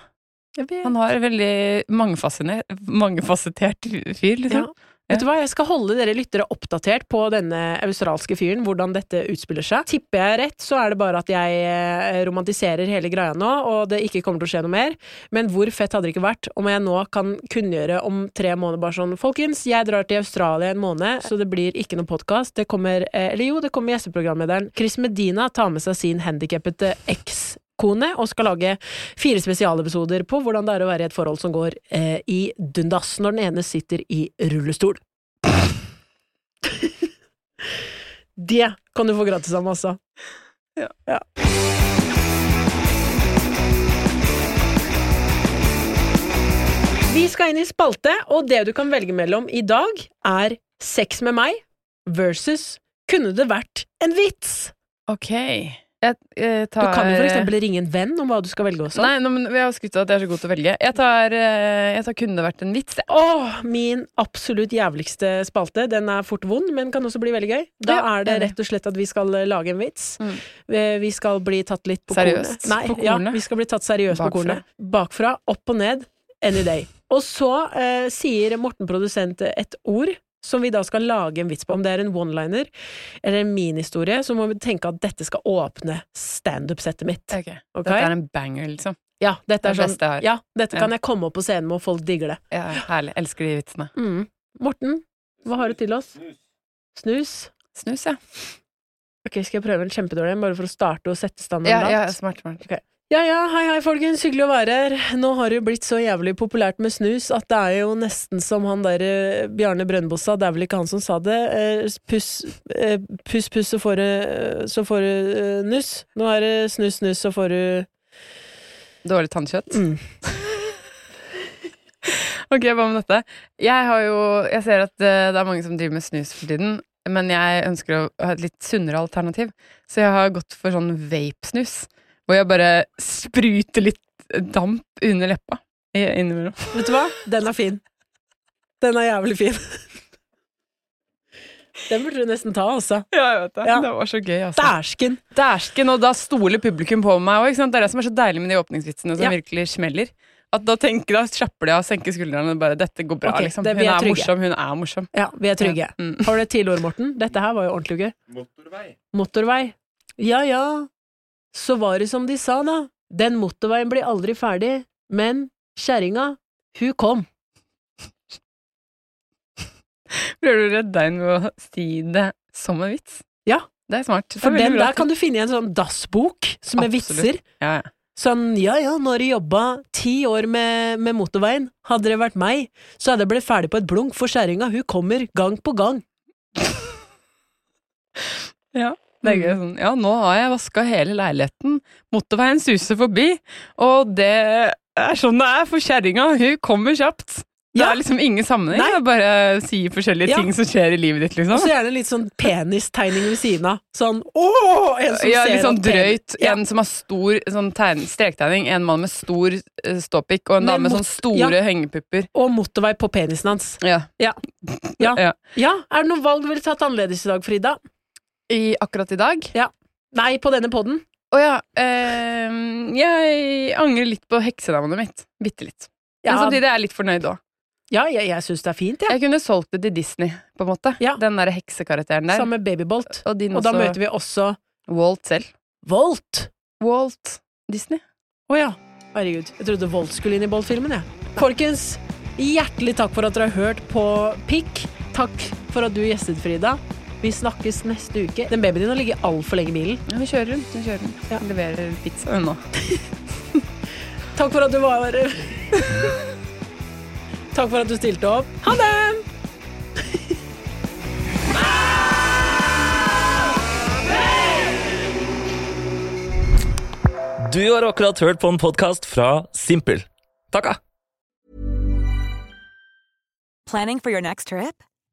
[SPEAKER 2] Jeg vet.
[SPEAKER 3] Han har en veldig mangefasine- mangefasettert fyr,
[SPEAKER 2] ja.
[SPEAKER 3] liksom. Ja.
[SPEAKER 2] Vet du hva, jeg skal holde dere lyttere oppdatert på denne australske fyren, hvordan dette utspiller seg. Tipper jeg rett, så er det bare at jeg eh, romantiserer hele greia nå, og det ikke kommer til å skje noe mer. Men hvor fett hadde det ikke vært om jeg nå kan kunngjøre om tre måneder bare sånn Folkens, jeg drar til Australia en måned, så det blir ikke noen podkast. Det kommer eh, Eller jo, det kommer gjesteprogramlederen. Chris Medina tar med seg sin handikappede eks kone, og skal lage fire spesialepisoder på hvordan det er å være i et forhold som går eh, i dundas når den ene sitter i rullestol. Det kan du få gratis av Massa. Vi skal inn i spalte, og det du kan velge mellom i dag, er sex med meg versus kunne det vært en vits?
[SPEAKER 3] Ok. Jeg, eh,
[SPEAKER 2] Du
[SPEAKER 3] tar
[SPEAKER 2] kan jo for eksempel ringe en venn om hva du skal velge også.
[SPEAKER 3] Nei, nå, men jeg har skrytt av at jeg er så god til å velge. Jeg tar, eh, jeg tar Kunne det vært en vits? jeg.
[SPEAKER 2] Åh, min absolutt jævligste spalte. Den er fort vond, men kan også bli veldig gøy. Da
[SPEAKER 3] Ja,
[SPEAKER 2] er det
[SPEAKER 3] enig.
[SPEAKER 2] rett og slett at vi skal eh, lage en vits.
[SPEAKER 3] Mm.
[SPEAKER 2] Eh, Vi skal bli tatt litt på
[SPEAKER 3] Seriøst
[SPEAKER 2] kornet. Nei,
[SPEAKER 3] på
[SPEAKER 2] Ja,
[SPEAKER 3] kornet?
[SPEAKER 2] vi skal bli tatt seriøst
[SPEAKER 3] Bakfra.
[SPEAKER 2] på kornet. Bakfra, opp og ned, any day. Og så eh, sier Morten produsent et ord som vi da skal lage en vits på. Om det er en one-liner eller en minihistorie, så må vi tenke at dette skal åpne standup-settet mitt.
[SPEAKER 3] Ok.
[SPEAKER 2] Ok?
[SPEAKER 3] Dette er en banger, liksom.
[SPEAKER 2] ja, dette er
[SPEAKER 3] det
[SPEAKER 2] sånn,
[SPEAKER 3] beste jeg har.
[SPEAKER 2] ja, dette
[SPEAKER 3] Ja.
[SPEAKER 2] kan jeg komme opp på scenen med, og folk digger det.
[SPEAKER 3] Ja, herlig. Elsker de vitsene.
[SPEAKER 2] Mm. Morten, hva har du til oss? Snus?
[SPEAKER 3] Snus, ja.
[SPEAKER 2] Ok, skal jeg prøve en kjempedårlig en, bare for å starte og sette standarden
[SPEAKER 3] Ja, ja,
[SPEAKER 2] lavt?
[SPEAKER 3] smart, smart.
[SPEAKER 2] Ja ja, hei hei folkens, hyggelig å være her. Nå har det jo blitt så jævlig populært med snus at det er jo nesten som han der eh, Bjarne Brøndbo sa, det er vel ikke han som sa det, eh, puss, eh, puss, puss, så får du, eh, så får du eh, nuss. Nå er det snus, snus, så får du
[SPEAKER 3] Dårlig tannkjøtt.
[SPEAKER 2] Mm.
[SPEAKER 3] ok, hva med dette? Jeg har jo Jeg ser at eh, det er mange som driver med snus for tiden, men jeg ønsker å ha et litt sunnere alternativ, så jeg har gått for sånn vape-snus, hvor jeg bare spruter litt damp under leppa i- innimellom.
[SPEAKER 2] Vet du hva? Den er fin. Den er jævlig fin. Den burde du nesten ta, altså.
[SPEAKER 3] Ja, jeg vet det.
[SPEAKER 2] Ja.
[SPEAKER 3] Det var så gøy, altså.
[SPEAKER 2] Dæsken!
[SPEAKER 3] Dæsken, og da stoler publikum på meg òg. Det er det som er så deilig med de åpningsvitsene som
[SPEAKER 2] Ja.
[SPEAKER 3] virkelig smeller. At da tenker da slapper de av, senker skuldrene og bare 'dette går bra',
[SPEAKER 2] Ok,
[SPEAKER 3] liksom.
[SPEAKER 2] det-
[SPEAKER 3] Hun
[SPEAKER 2] vi er
[SPEAKER 3] er
[SPEAKER 2] trygge.
[SPEAKER 3] morsom, hun er morsom.
[SPEAKER 2] Ja, vi er trygge.
[SPEAKER 3] Ja. Mm.
[SPEAKER 2] Har du et tidligere ord, Morten? Dette her var jo ordentlig gøy. Motorvei. Ja ja, så var det som de sa, da. Den motorveien blir aldri ferdig, men kjerringa, hun kom.
[SPEAKER 3] Prøver du å redde deg inn ved å si det som en vits?
[SPEAKER 2] Ja.
[SPEAKER 3] Det er smart.
[SPEAKER 2] For
[SPEAKER 3] det er
[SPEAKER 2] den
[SPEAKER 3] veldig
[SPEAKER 2] der
[SPEAKER 3] bra.
[SPEAKER 2] kan du finne i en sånn dassbok, som er vitser.
[SPEAKER 3] Absolutt. ja, ja.
[SPEAKER 2] Sånn ja ja, nå har du jobba ti år med, med motorveien, hadde det vært meg, så hadde jeg blitt ferdig på et blunk, for kjerringa, hun kommer gang på gang.
[SPEAKER 3] Det er gøy, sånn, ja, nå har jeg vaska hele leiligheten, motorveien suser forbi, og det er sånn det er for kjerringa, hun kommer kjapt. Det
[SPEAKER 2] Ja.
[SPEAKER 3] er liksom ingen sammenheng,
[SPEAKER 2] Nei.
[SPEAKER 3] det er bare sier forskjellige
[SPEAKER 2] Ja.
[SPEAKER 3] ting som skjer i livet ditt, liksom.
[SPEAKER 2] Og så gjerne litt sånn penistegning ved siden av. Sånn ååå! En som
[SPEAKER 3] ja,
[SPEAKER 2] ser
[SPEAKER 3] litt sånn
[SPEAKER 2] at penis-
[SPEAKER 3] drøyt.
[SPEAKER 2] Ja.
[SPEAKER 3] En som har stor sånn tegn, strektegning, en mann med stor eh, ståpikk, og en
[SPEAKER 2] Med
[SPEAKER 3] dame med
[SPEAKER 2] mot-
[SPEAKER 3] sånn store
[SPEAKER 2] ja.
[SPEAKER 3] hengepupper.
[SPEAKER 2] og motorvei på penisen hans.
[SPEAKER 3] Ja.
[SPEAKER 2] Ja. Ja.
[SPEAKER 3] Ja.
[SPEAKER 2] Ja, er det noen valg du ville tatt annerledes i dag, Frida?
[SPEAKER 3] I, akkurat i dag
[SPEAKER 2] Nei, på denne podden.
[SPEAKER 3] Å ja. ehm, jeg angrer litt på heksenavnet mitt. Bitte litt. Men
[SPEAKER 2] Ja,
[SPEAKER 3] samtidig er jeg litt fornøyd òg.
[SPEAKER 2] ja jeg, jeg syns det er fint, jeg.
[SPEAKER 3] Jeg kunne solgt det til Disney, på en måte.
[SPEAKER 2] Ja.
[SPEAKER 3] Den derre heksekarakteren der.
[SPEAKER 2] Sammen med Babybolt.
[SPEAKER 3] Og din
[SPEAKER 2] Og da
[SPEAKER 3] også.
[SPEAKER 2] møter vi også
[SPEAKER 3] Walt selv.
[SPEAKER 2] Volt.
[SPEAKER 3] Walt Disney.
[SPEAKER 2] Å ja. Herregud. Jeg trodde Volt skulle inn i Bolt-filmen, jeg. Folkens, hjertelig takk for at dere har hørt på Pikk. Takk for at du gjestet, Frida. Vi snakkes neste uke. Den babyen din har ligget altfor lenge i bilen.
[SPEAKER 3] Ja, hun kjører rundt. Hun kjører rundt.
[SPEAKER 2] Ja.
[SPEAKER 3] Hun Leverer pizza, hun nå.
[SPEAKER 2] Takk for at du var her. Takk for at du stilte opp. Ha det!
[SPEAKER 1] Du har akkurat hørt på en podkast fra Simpel. ah. Takka!
[SPEAKER 8] Planning for your next trip?